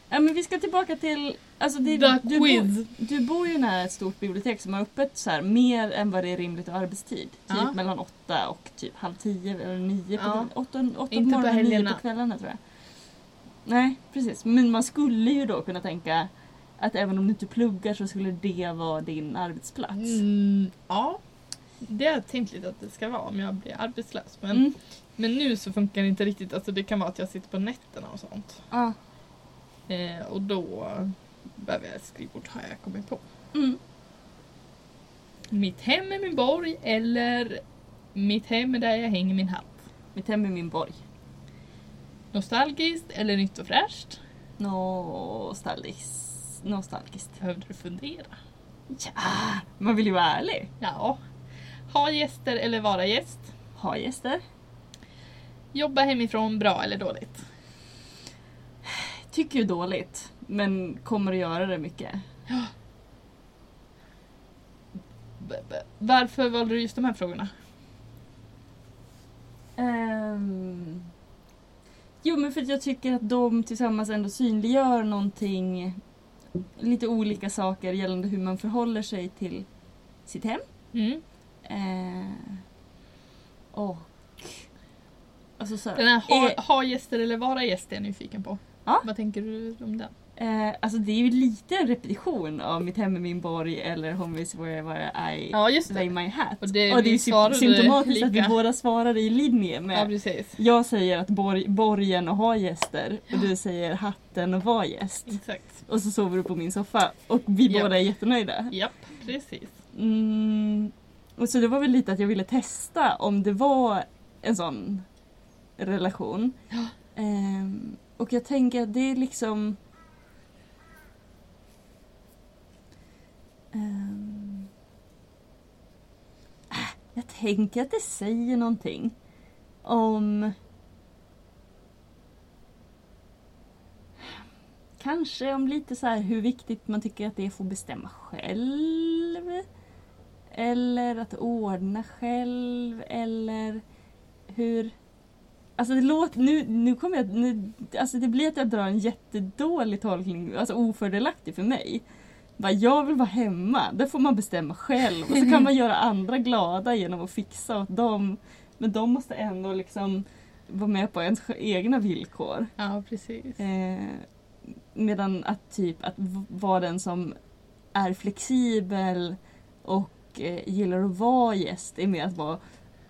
Ja, men vi ska tillbaka till... Alltså, det, The du, quiz. bor, du bor ju nära ett stort bibliotek som har öppet så här, mer än vad det är rimligt av arbetstid. Typ Ja. mellan åtta och typ halv tio eller nio på, Ja. åtta, åtta på Inte på morgonen och nio helgerna. på kvällarna tror jag. Nej, precis. Men man skulle ju då kunna tänka att även om du inte pluggar så skulle det vara din arbetsplats. Mm, ja. Det har jag tänkt lite att det ska vara om jag blir arbetslös. Men, Mm. men nu så funkar det inte riktigt. Alltså det kan vara att jag sitter på nätterna och sånt. Ja. Eh, och då behöver jag ett skrivbord har jag kommit på. Mm. Mitt hem är min borg eller mitt hem är där jag hänger min hatt. Mitt hem är min borg. Nostalgiskt eller nytt och fräscht? Nostalgiskt. Nostalgiskt. Behövde du fundera? Ja, man vill ju vara ärlig. Ja. Ha gäster eller vara gäst? Ha gäster. Jobba hemifrån, bra eller dåligt? Tycker ju dåligt, men kommer att göra det mycket. B- b- varför valde du just de här frågorna? Ehm, Jo, men för att jag tycker att de tillsammans ändå synliggör någonting, lite olika saker gällande hur man förhåller sig till sitt hem. Mm. Ehm, och... Alltså så här, Den här eh, ha, ha gäster eller vara gäst är jag nyfiken på. Ja. Vad tänker du om den? Eh, alltså det är ju lite en repetition av Mitt hem är min borg eller Home is wherever I Ja, just lay my hat. Och det- är vi ju sy- svarade symptomatiskt att vi lika. båda svarar i linje Ja, med precis. jag säger att borg, borgen och ha gäster och du säger hatten och var gäst. Exakt. Och så sover du på min soffa och vi Ja. båda är jättenöjda. Japp, precis. Mm, och så det var väl lite att jag ville testa om det var en sån relation. Ja. Ehm, och jag tänker att det är liksom... Ehm, ah, jag tänker att det säger någonting om... Kanske om lite så här hur viktigt man tycker att det är att få bestämma själv. Eller att ordna själv. Eller hur... Alltså det låter... Nu, nu kommer jag... Nu, alltså det blir att jag drar en jättedålig tolkning. Alltså ofördelaktig för mig. Bara, jag vill vara hemma. Där får man bestämma själv. Och så kan man göra andra glada genom att fixa åt dem. Men de måste ändå liksom vara med på ens egna villkor. Ja, precis. Eh, medan att typ att v- vara den som är flexibel och eh, gillar att vara gäst är mer att vara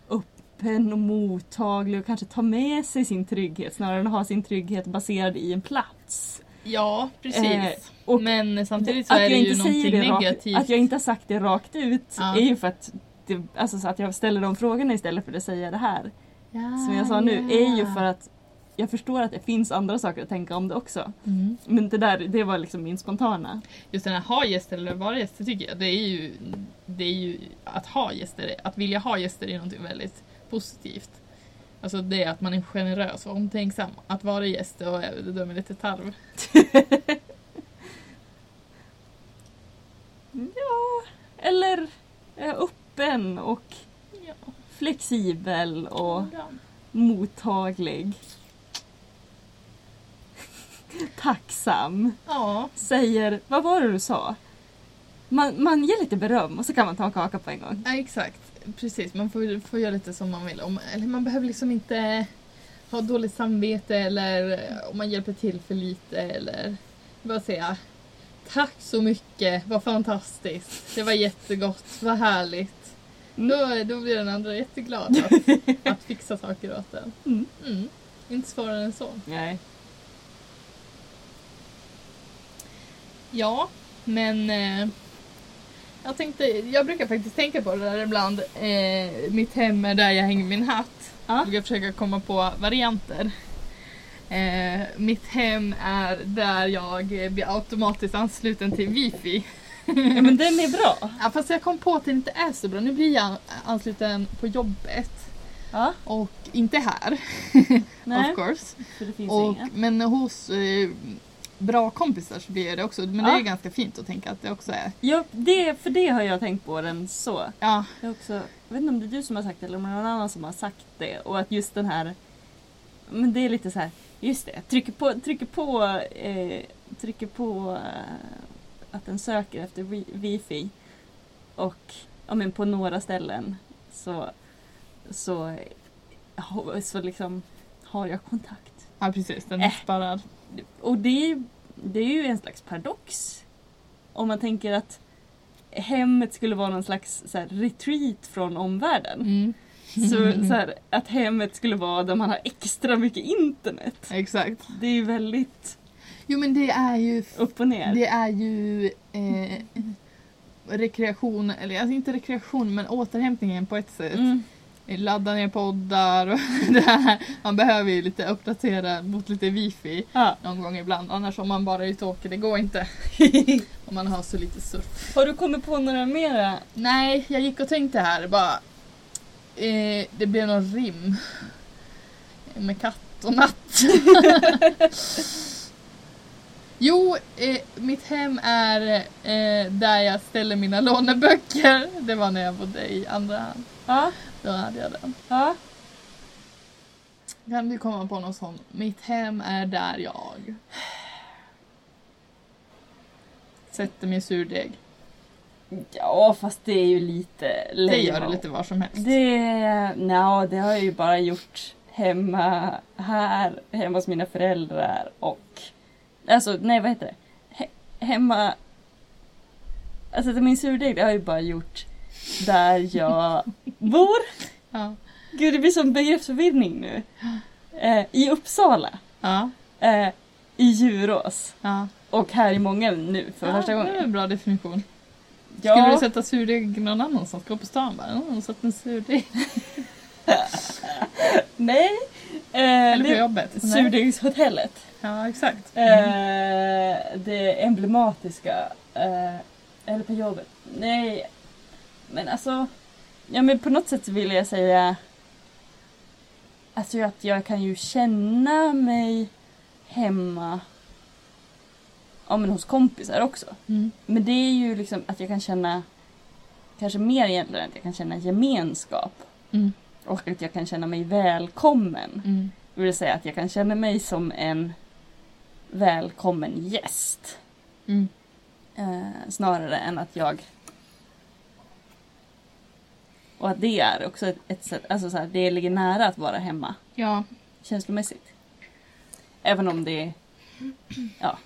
öppen och mottaglig och kanske ta med sig sin trygghet snarare än att ha sin trygghet baserad i en plats. Ja, precis. Eh, och Men samtidigt så att är det jag ju inte säger någonting det rakt- negativt. Att jag inte har sagt det rakt ut Ja. är ju för att, det, alltså så att jag ställer de frågorna istället för att säga det här. Ja, Som jag sa nu är ju Ah, ja. för att jag förstår att det finns andra saker att tänka om det också. Mm. Men det där, det var liksom min spontana. Just den här ha gäster eller vara gäster tycker jag, det är ju, det är ju att ha gäster, att vilja ha gäster är någonting väldigt positivt. Alltså det är att man är generös och omtänksam. Att vara gäst, då är det dömer lite tarv. Ja, eller eh, öppen och Ja. flexibel och Ja. mottaglig. Tacksam. ja. Säger, vad var det du sa? Man, man ger lite beröm och så kan man ta kaka på en gång. Ja, exakt. Precis, man får, får göra lite som man vill. Om, eller man behöver liksom inte ha dåligt samvete eller eh, om man hjälper till för lite eller bara säga Tack så mycket, vad fantastiskt. Det var jättegott, vad härligt. Då, då blir den andra jätteglad att, att fixa saker åt en. Mm. Mm. Inte svårare än så. Nej. Ja, men eh, jag tänkte, jag brukar faktiskt tänka på det där ibland. Eh, mitt hem är där jag hänger min hatt. Ja. Jag brukar försöka komma på varianter. Eh, mitt hem är där jag eh, blir automatiskt ansluten till wifi. Ja, men den är bra. Ja, fast jag kom på att det inte är så bra. Nu blir jag ansluten på jobbet. Ja, Och inte här, nej. of course. För det finns Och, inga. men hos eh, bra kompisar så blir det också, men det är Ja. ju ganska fint att tänka att det också är. Ja, det, för det har jag tänkt på den så. Ja, Jag, har också, jag vet inte om det är du som har sagt det eller om det är någon annan som har sagt det. Och att just den här... Men det är lite så här, just det, trycker på, trycker på, eh, trycker på eh, att den söker efter wi- wifi. Och ja, men på några ställen så, så, så liksom har jag kontakt. ja precis, den är Äh. sparrad. Och det, är- det är ju en slags paradox. Om man tänker att hemmet skulle vara någon slags så här, retreat från omvärlden. Mm, Så, så här, att hemmet skulle vara där man har extra mycket internet. exakt. Det är ju väldigt Jo men det är ju upp och ner. Det är ju eh, rekreation, eller alltså inte rekreation men återhämtningen på ett sätt. Mm. Ladda ner poddar och det här. Man behöver ju lite uppdatera mot lite wifi Ja. någon gång ibland. Annars om man bara är ute och åker, det går inte. Om man har så lite surf. Har du kommit på några äh, mera? Nej, jag gick och tänkte här bara. Eh, det blev någon rim. Med katt och natt. jo, eh, mitt hem är eh, där jag ställer mina låneböcker. Det var när jag bodde i andra hand. Ja, Då hade jag den. ja. Kan du komma på någon sån? Mitt hem är där jag. Sätter min surdeg. ja, fast det är ju lite Det gör du lite var som helst. Det, no, det har jag ju bara gjort hemma här, hemma hos mina föräldrar och... Alltså, nej vad heter det? He, hemma... Alltså det- min surdeg, det har jag ju bara gjort där jag bor. Ja. Gud, det blir som begreppsförvirring nu. Eh, I Uppsala, Ja. eh, i Djurås ja. och här i Mången nu för ja, första Det är gången. en bra definition. Ja, Skulle du sätta surdeg någon annanstans? Gå på stan bara, "Mm, hon satte en surdeg. Eh, nej. Eh, Eller på det, Eh. jobbet. Nej. surdegshotellet. Ja, exakt. Eh, Mm. det emblematiska. Eh, eller på jobbet. Nej. Men alltså. Ja men på något sätt så vill jag säga. Alltså att jag kan ju känna mig hemma. Ja men hos kompisar också. Mm. Men det är ju liksom att jag kan känna. Kanske mer egentligen att jag kan känna gemenskap. Mm. Och att jag kan känna mig välkommen. Mm. Det vill säga att jag kan känna mig som en välkommen gäst. Mm. Eh, snarare än att jag... Och att det är också ett, ett sätt, alltså så här, det ligger nära att vara hemma Ja. känslomässigt. Även om det, ja,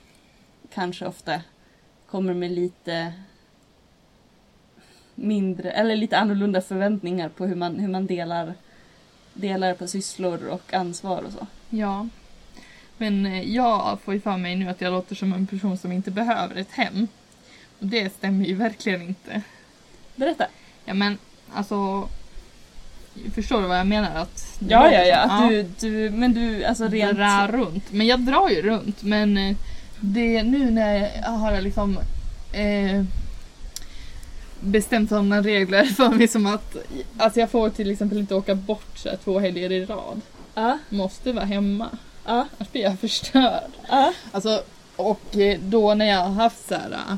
kanske ofta kommer med lite mindre, eller lite annorlunda förväntningar på hur man, hur man delar, delar på sysslor och ansvar och så. ja. Men eh, jag får ju för mig nu att jag låter som en person som inte behöver ett hem. Och det stämmer ju verkligen inte. Berätta. Ja men alltså... Förstår du vad jag menar? Att det Ja, låter ja, ja. som- Att du, du, men du, alltså rent... dra runt. Men jag drar ju runt. Men eh, det nu när jag har liksom eh, bestämt sådana regler för mig som att alltså jag får till exempel inte åka bort så här, två helger i rad. Ja, Måste vara hemma. ja, Annars blir jag förstörd. ja. Alltså, och eh, då när jag har haft så här eh,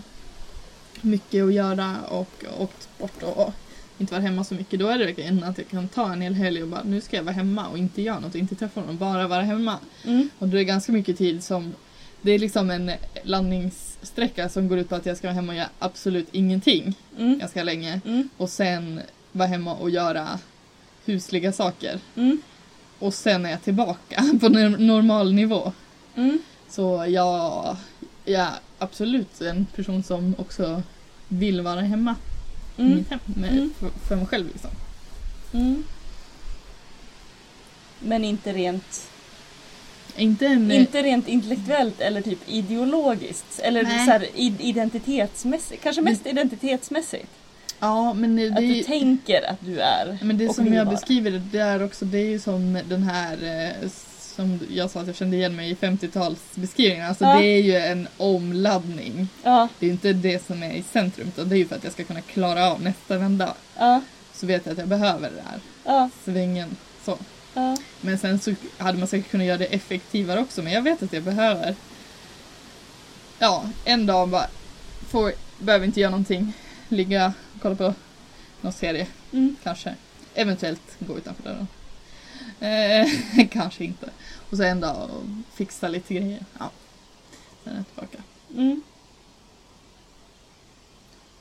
mycket att göra och åkt bort och inte varit hemma så mycket, då är det verkligen att jag kan ta en hel helg och bara nu ska jag vara hemma och inte göra något, inte träffa någon, bara vara hemma. Mm. Och det är ganska mycket tid som... Det är liksom en landningssträcka som går ut på att jag ska vara hemma och göra absolut ingenting Mm. ganska länge. Mm. Och sen vara hemma och göra husliga saker. Mm. Och sen är jag tillbaka på nor- normal nivå. Mm. Så jag, jag är absolut en person som också vill vara hemma i Mm. mitt hem. Med, Mm. för, för mig själv liksom. Mm. Men inte rent, Inte en... inte rent intellektuellt eller typ ideologiskt eller Nej. så här, i- identitetsmässigt. Kanske mest identitetsmässigt. Ja, men det Att du är- tänker att du är Men det och som vill jag vara. beskriver det där också, det är ju som den här eh, som jag sa att jag kände igen mig i 50-talsbeskrivningen. Alltså Ja. det är ju en omladdning. Ja, Det är ju inte det som är i centrum utan det är ju för att jag ska kunna klara av nästa vända. ja, Så vet jag att jag behöver den här ja. svängen. Så. Ja. Men sen så hade man säkert kunnat göra det effektivare också, men jag vet att jag behöver. Ja, en dag bara, får, behöver inte göra någonting. Ligga och kolla på någon serie, Mm. kanske. Eventuellt gå utanför dörren. Eh, kanske inte. Och så en dag och fixa lite grejer. Ja. Sen är jag tillbaka. Mm.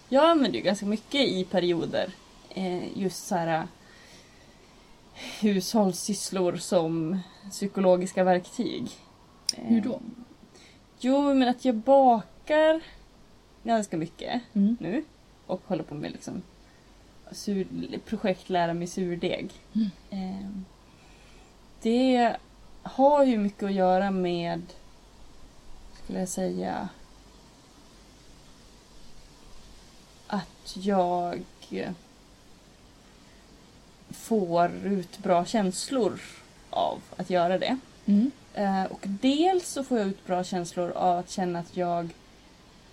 Jag använder ju ganska mycket i perioder eh, just så här eh, hushållssysslor som psykologiska verktyg. Eh, Hur då? Jo, men att jag bakar ganska mycket Mm. nu och håller på med liksom sur, projekt lära mig surdeg. Mm. Eh, det har ju mycket att göra med, skulle jag säga, att jag får ut bra känslor av att göra det. Mm. Eh, och dels så får jag ut bra känslor av att känna att jag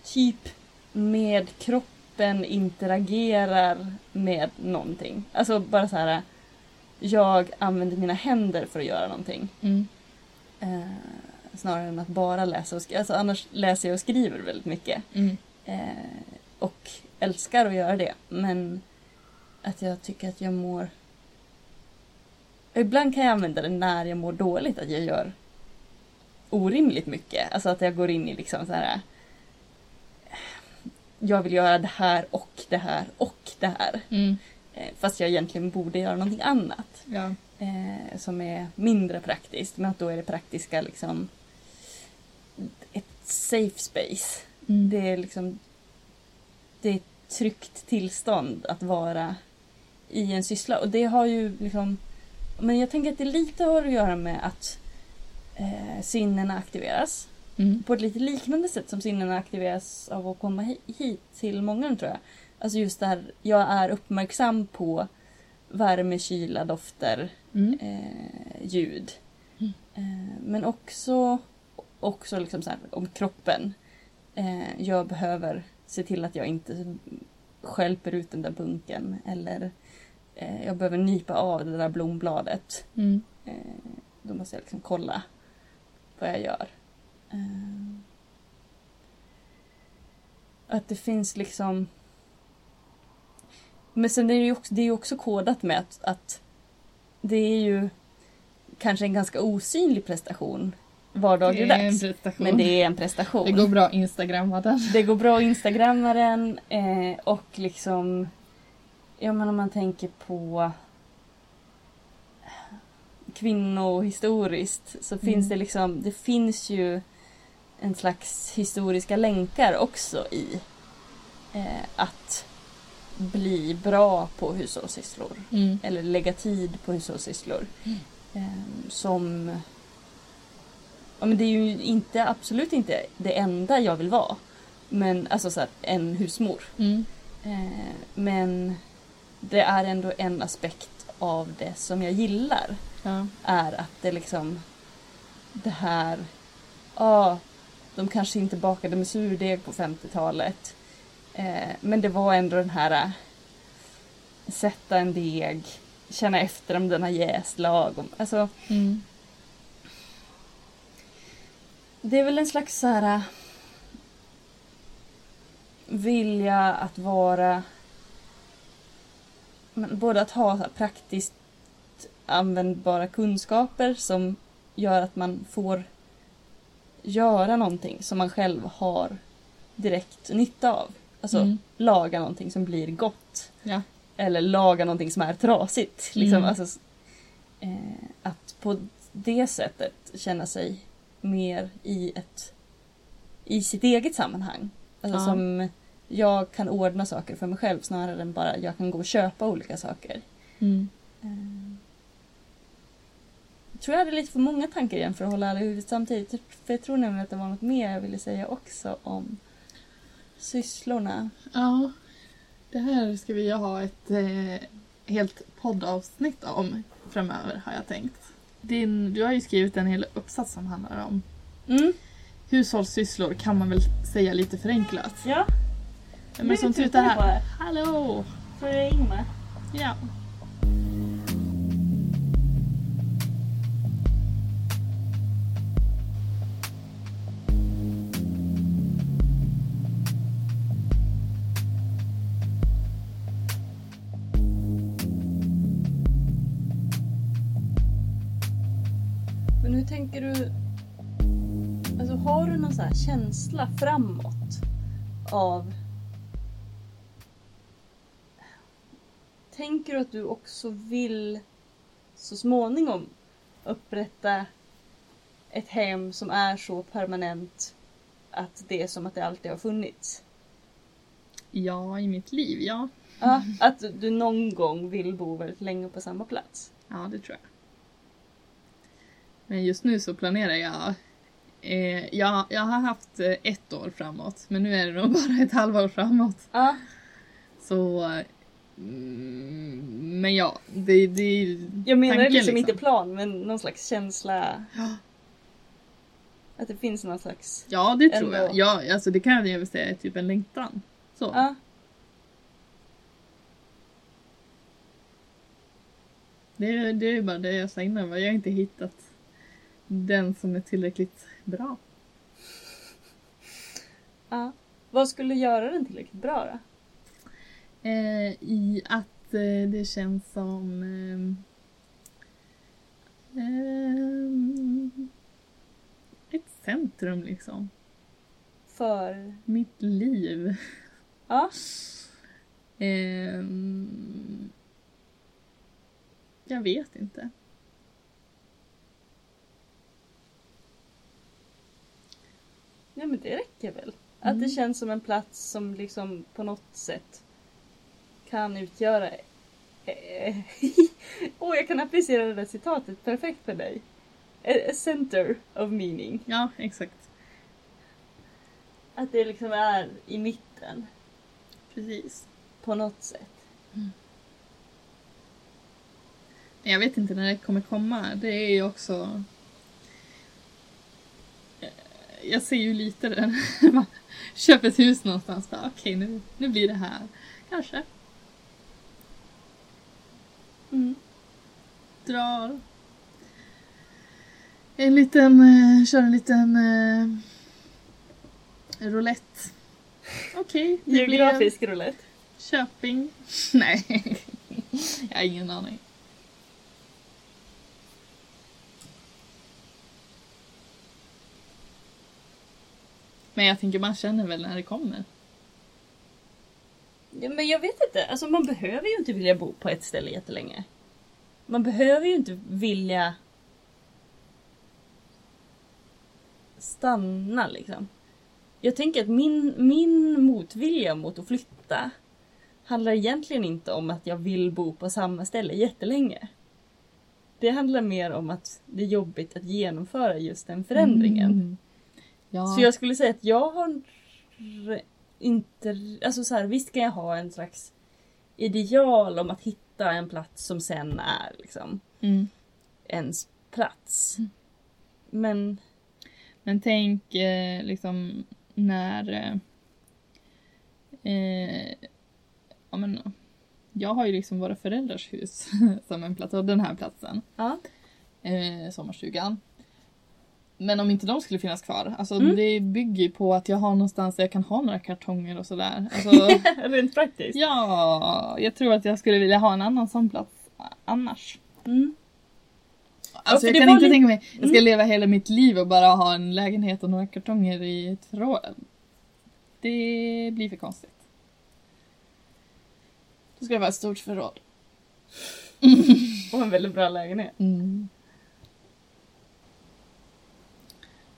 typ med kroppen interagerar med någonting. Alltså bara så här. Jag använder mina händer för att göra någonting. Mm. Eh, snarare än att bara läsa och skriva. Alltså annars läser jag och skriver väldigt mycket. Mm. Eh, och älskar att göra det. Men att jag tycker att jag mår... Ibland kan jag använda det när jag mår dåligt, att jag gör orimligt mycket. Alltså att jag går in i liksom så här... eh, Jag vill göra det här och det här och det här. Mm. Eh, Fast jag egentligen borde göra någonting annat Ja. eh, som är mindre praktiskt. Men att då är det praktiska liksom ett safe space. Mm. Det är liksom det är ett tryggt tillstånd att vara i en syssla. Och det har ju liksom... Men jag tänker att det lite har att göra med att eh, sinnena aktiveras. Mm. På ett lite liknande sätt som sinnena aktiveras av att komma hi- hit till många tror jag. Alltså just där jag är uppmärksam på värme, kyla, dofter, Mm. eh, ljud. Mm. Eh, men också, också liksom så här, om kroppen. Eh, jag behöver se till att jag inte skälper ut den där bunken eller eh, jag behöver nypa av det där blombladet. Mm. Eh, då måste jag liksom kolla vad jag gör. Eh, att det finns liksom... Men sen är det ju också, det är ju också kodat med att, att det är ju kanske en ganska osynlig prestation vardagligdags. prestation. Men det är en prestation. Det går bra att instagramma den. Det går bra att instagramma den eh, och liksom... Ja men om man tänker på kvinnohistoriskt så Mm. finns det liksom, det finns ju en slags historiska länkar också i eh, att bli bra på hushållssysslor Mm. eller lägga tid på hushållssysslor. Eh, som... Ja, men det är ju inte, absolut inte det enda jag vill vara. Men alltså så här, en husmor. Mm. Eh, men det är ändå en aspekt av det som jag gillar. Ja. Är att det liksom... Det här... Ja, de kanske inte bakade med surdeg på 50-talet. Eh, men det var ändå den här... eh, Sätta en deg, känna efter om den har jäst lagom. Alltså, Mm. Det är väl en slags så här... äh, Vilja att vara... Men både att ha så här praktiskt användbara kunskaper som gör att man får göra någonting som man själv har direkt nytta av. Alltså Mm. laga någonting som blir gott. Ja. Eller laga någonting som är trasigt. Liksom. Mm. Alltså, s- eh, att på det sättet känna sig mer i, ett, i sitt eget sammanhang. Alltså Ja. som jag kan ordna saker för mig själv snarare än bara jag kan gå och köpa olika saker. Mm. Eh, Jag tror jag hade lite för många tankar igen för att hålla alla i huvudet samtidigt. För jag tror nämligen att det var något mer jag ville säga också om sysslorna. Ja, det här ska vi ju ha ett eh, helt poddavsnitt om framöver har jag tänkt. Din, du har ju skrivit en hel uppsats som handlar om Mm. hushållssysslor kan man väl säga lite förenklat. Ja, Men som tutar här. Hallå! Får jag ringa? Ja. Men hur tänker du? Alltså har du någon så här känsla framåt av... Tänker du att du också vill så småningom upprätta ett hem som är så permanent att det är som att det alltid har funnits? Ja, i mitt liv, ja. Ja, att du någon gång vill bo väldigt länge på samma plats? Ja, det tror jag. Men just nu så planerar jag. Eh, jag, jag har haft eh, ett år framåt, men nu är det nog bara ett halvår framåt. Ja, Så... eh, Mm, men ja, det, det är ju jag menar tanken, liksom, inte plan men någon slags känsla. Ja. Att det finns någon slags... Ja, det tror Ändå. jag. Ja, alltså det kan jag väl säga är typ en längtan. Så. Ja, Det, är- det är ju bara det jag sa innan, va? jag har inte hittat den som är tillräckligt bra. ja. Vad skulle göra den tillräckligt bra då? Eh, I att eh, det känns som... ehm, ehm, ett centrum liksom. För... Mitt liv. Ja. Ehm, jag vet inte. Nej men det räcker väl? Att det Mm. känns som en plats som liksom på något sätt kan utgöra... Eh, Åh, jag kan applicera det där citatet perfekt för dig. A a center of meaning. Ja, exakt. Att det liksom är i mitten Precis. på något sätt. Men Jag vet inte när det kommer komma. Det är ju också... Eh, Jag ser ju lite det. Man köper ett hus någonstans. bara, Okej, nu, nu blir det här. Kanske. Mm. Drar. En liten... eh, Kör en liten... Eh, roulette. Okej. det blir en Geografisk roulette. Köping. Nej. Jag har ingen aning. Men jag tänker man känner väl när det kommer. Ja, men jag vet inte, alltså man behöver ju inte vilja bo på ett ställe jättelänge. Man behöver ju inte vilja stanna liksom. Jag tänker att min, min motvilja mot att flytta handlar egentligen inte om att jag vill bo på samma ställe jättelänge. Det handlar mer om att det är jobbigt att genomföra just den förändringen. Mm. Ja. Så jag skulle säga att jag har re- inte... Alltså så här, visst kan jag ha en slags ideal om att hitta en plats som sen är liksom mm. ens plats. Men Men tänk eh, liksom när... eh, Eh, ja, men, jag har ju liksom våra föräldrars hus som en plats och den här platsen. ja, eh, sommarstugan. Men om inte de skulle finnas kvar, alltså Mm. det bygger ju på att jag har någonstans där jag kan ha några kartonger och sådär. Alltså, rent praktiskt. ja, jag tror att jag skulle vilja ha en annan sån plats annars. Mm. Alltså för jag det kan var inte lite- Mm. tänka mig, jag ska leva hela mitt liv och bara ha en lägenhet och några kartonger i tråden. Det blir för konstigt. Då ska det vara ett stort förråd. Och en väldigt bra lägenhet. Mm.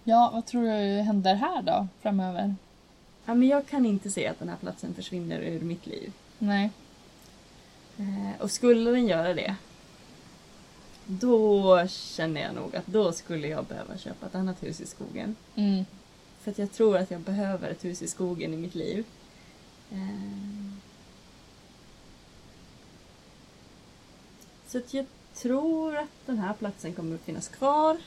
Ja, vad tror du händer här då framöver? Ja, men jag kan inte se att den här platsen försvinner ur mitt liv. Nej. Eh, Och skulle den göra det, då känner jag nog att då skulle jag behöva köpa ett annat hus i skogen. Mm. För att jag tror att jag behöver ett hus i skogen i mitt liv. Ehm. Så att jag tror att den här platsen kommer att finnas kvar.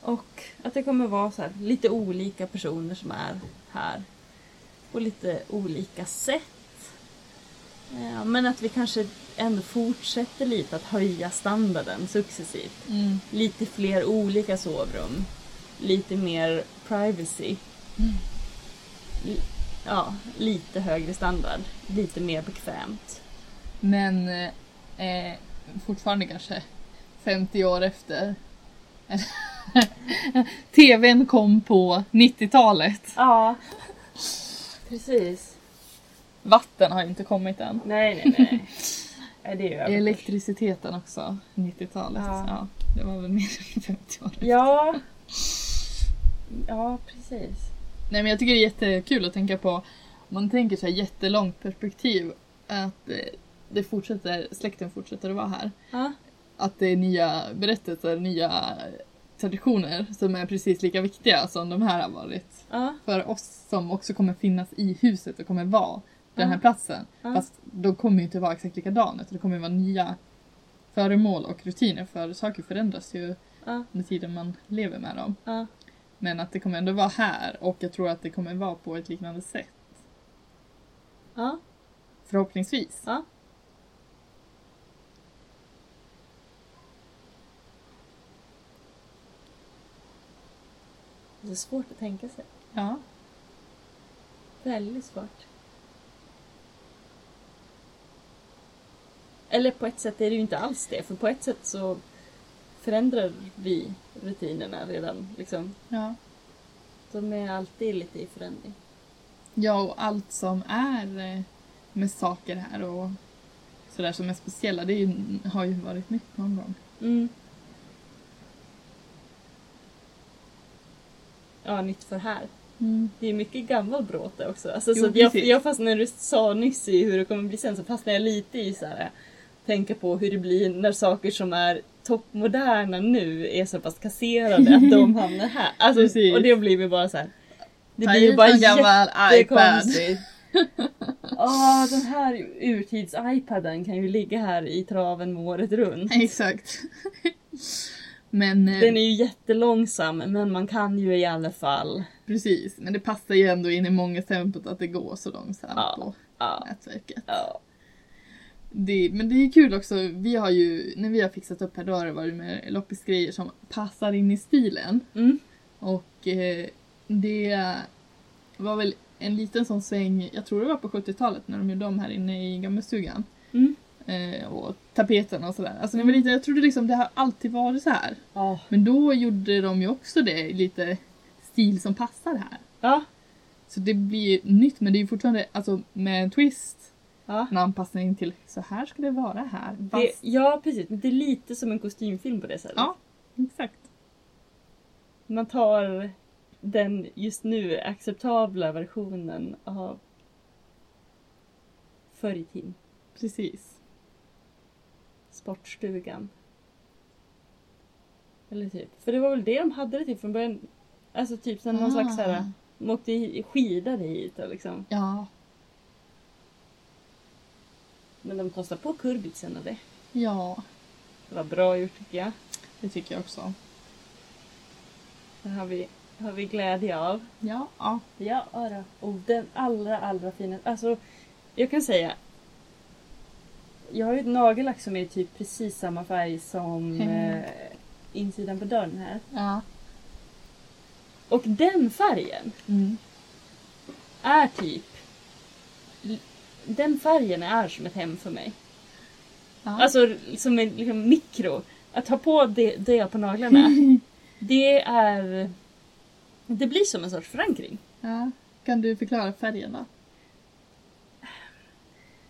Och att det kommer vara så här, lite olika personer som är här. På lite olika sätt. Ehm, Men att vi kanske ändå fortsätter lite att höja standarden successivt Mm. lite fler olika sovrum. Lite mer privacy. L- Ja, lite högre standard. Lite mer bekvämt. Men eh, eh, fortfarande kanske 50 år efter TVn kom på 90-talet. Ja. Precis. Vatten har inte kommit än. Nej, nej, nej. Nej, det är ju över. Elektriciteten också, 90-talet. Ja. Ja. det var väl mer än 50 år. Ja. Ja, precis. Nej men jag tycker det är jättekul att tänka på, om man tänker så här jättelångt perspektiv, att eh, det fortsätter, släkten fortsätter att vara här. Ja. Att det är nya berättelser, nya traditioner som är precis lika viktiga som de här har varit. Ja. För oss som också kommer finnas i huset och kommer vara den här Ja. platsen. Ja. Fast de kommer ju inte vara exakt likadana utan det kommer ju vara nya föremål och rutiner för saker förändras ju Ja. under tiden man lever med dem. Ja. Men att det kommer ändå vara här och jag tror att det kommer vara på ett liknande sätt. Ja. Förhoppningsvis. Ja. Det är svårt att tänka sig. Ja. Väldigt svårt. Eller på ett sätt är det ju inte alls det, för på ett sätt så förändrar vi rutinerna redan. Liksom. Ja. De är alltid lite i förändring. ja, och allt som är eh, med saker här och sådär som är speciella, det är ju, har ju varit nytt någon gång. Mm. Ja, nytt för här. Det är mycket gammal bråte också. Alltså, Jo, så att jag, precis. jag fastnade, när du sa nyss i hur det kommer bli sen, så fastnade jag lite i så här, eh, tänka på hur det blir när saker som är toppmoderna nu är så pass kasserade att de hamnar här. Alltså, Precis. och det blir ju bara så här. Det Ta blir ju hit bara en gammal iPad. jättekonstigt. Åh, den här urtids-iPaden kan ju ligga här i traven året runt. Exakt. Men, eh, Den är ju jättelångsam men man kan ju i alla fall. precis, men det passar ju ändå in i många tempot att det går så långsamt Ja. på Ja. nätverket. ja. Det, men det är kul också, vi har ju, när vi har fixat upp här då har det varit med loppisgrejer som passar in i stilen. Mm. Och eh, det var väl en liten sån sväng, jag tror det var på 70-talet när de gjorde om här inne i gammelstugan. Mm. Eh, och tapeterna och sådär. Alltså när jag var liten, jag trodde liksom det har alltid varit så här. Ja. Men då gjorde de ju också det i lite stil som passar här. Ja. Så det blir ju nytt men det är ju fortfarande alltså, med en twist, ja. en anpassning till så här ska det vara här. Det, Fast, ja precis, Men det är lite som en kostymfilm på det sättet. Ja, exakt. Man tar den just nu acceptabla versionen av förr i tiden. Precis. Sportstugan. Eller typ. För det var väl det de hade det till från början. Alltså typ som någon Ah. slags såhär, de åkte i- skidade hit och liksom. Ja, Men de kostade på kurbitsen och det. ja, Det var bra gjort tycker jag. det tycker jag också. Det har vi, har vi glädje av. Ja, ja. Ja då. Och den allra, allra finaste. Alltså, jag kan säga. Jag har ju ett nagellack som är typ precis samma färg som Mm. eh, insidan på dörren här. ja. Och den färgen Mm. är typ... Den färgen är som ett hem för mig. ja. Alltså som en liksom, mikro. Att ha på det, det på naglarna. det är... Det blir som en sorts förankring. Ja. Kan du förklara färgen då?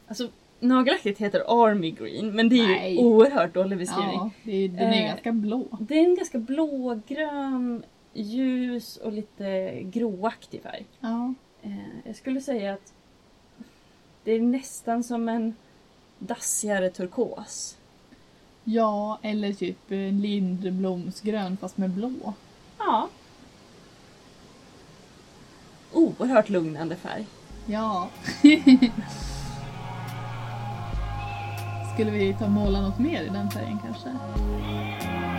Alltså, nagellacket heter Army Green, men det är ju Nej. oerhört dålig beskrivning. Ja, det är, den är Eh. ganska blå. Det är en ganska blågrön, ljus och lite gråaktig färg. Ja. Eh, jag skulle säga att det är nästan som en dassigare turkos. ja, eller typ eh, lindblomsgrön fast med blå. Ja. Oerhört lugnande färg. Ja. Skulle vi ta och måla något mer i den färgen kanske?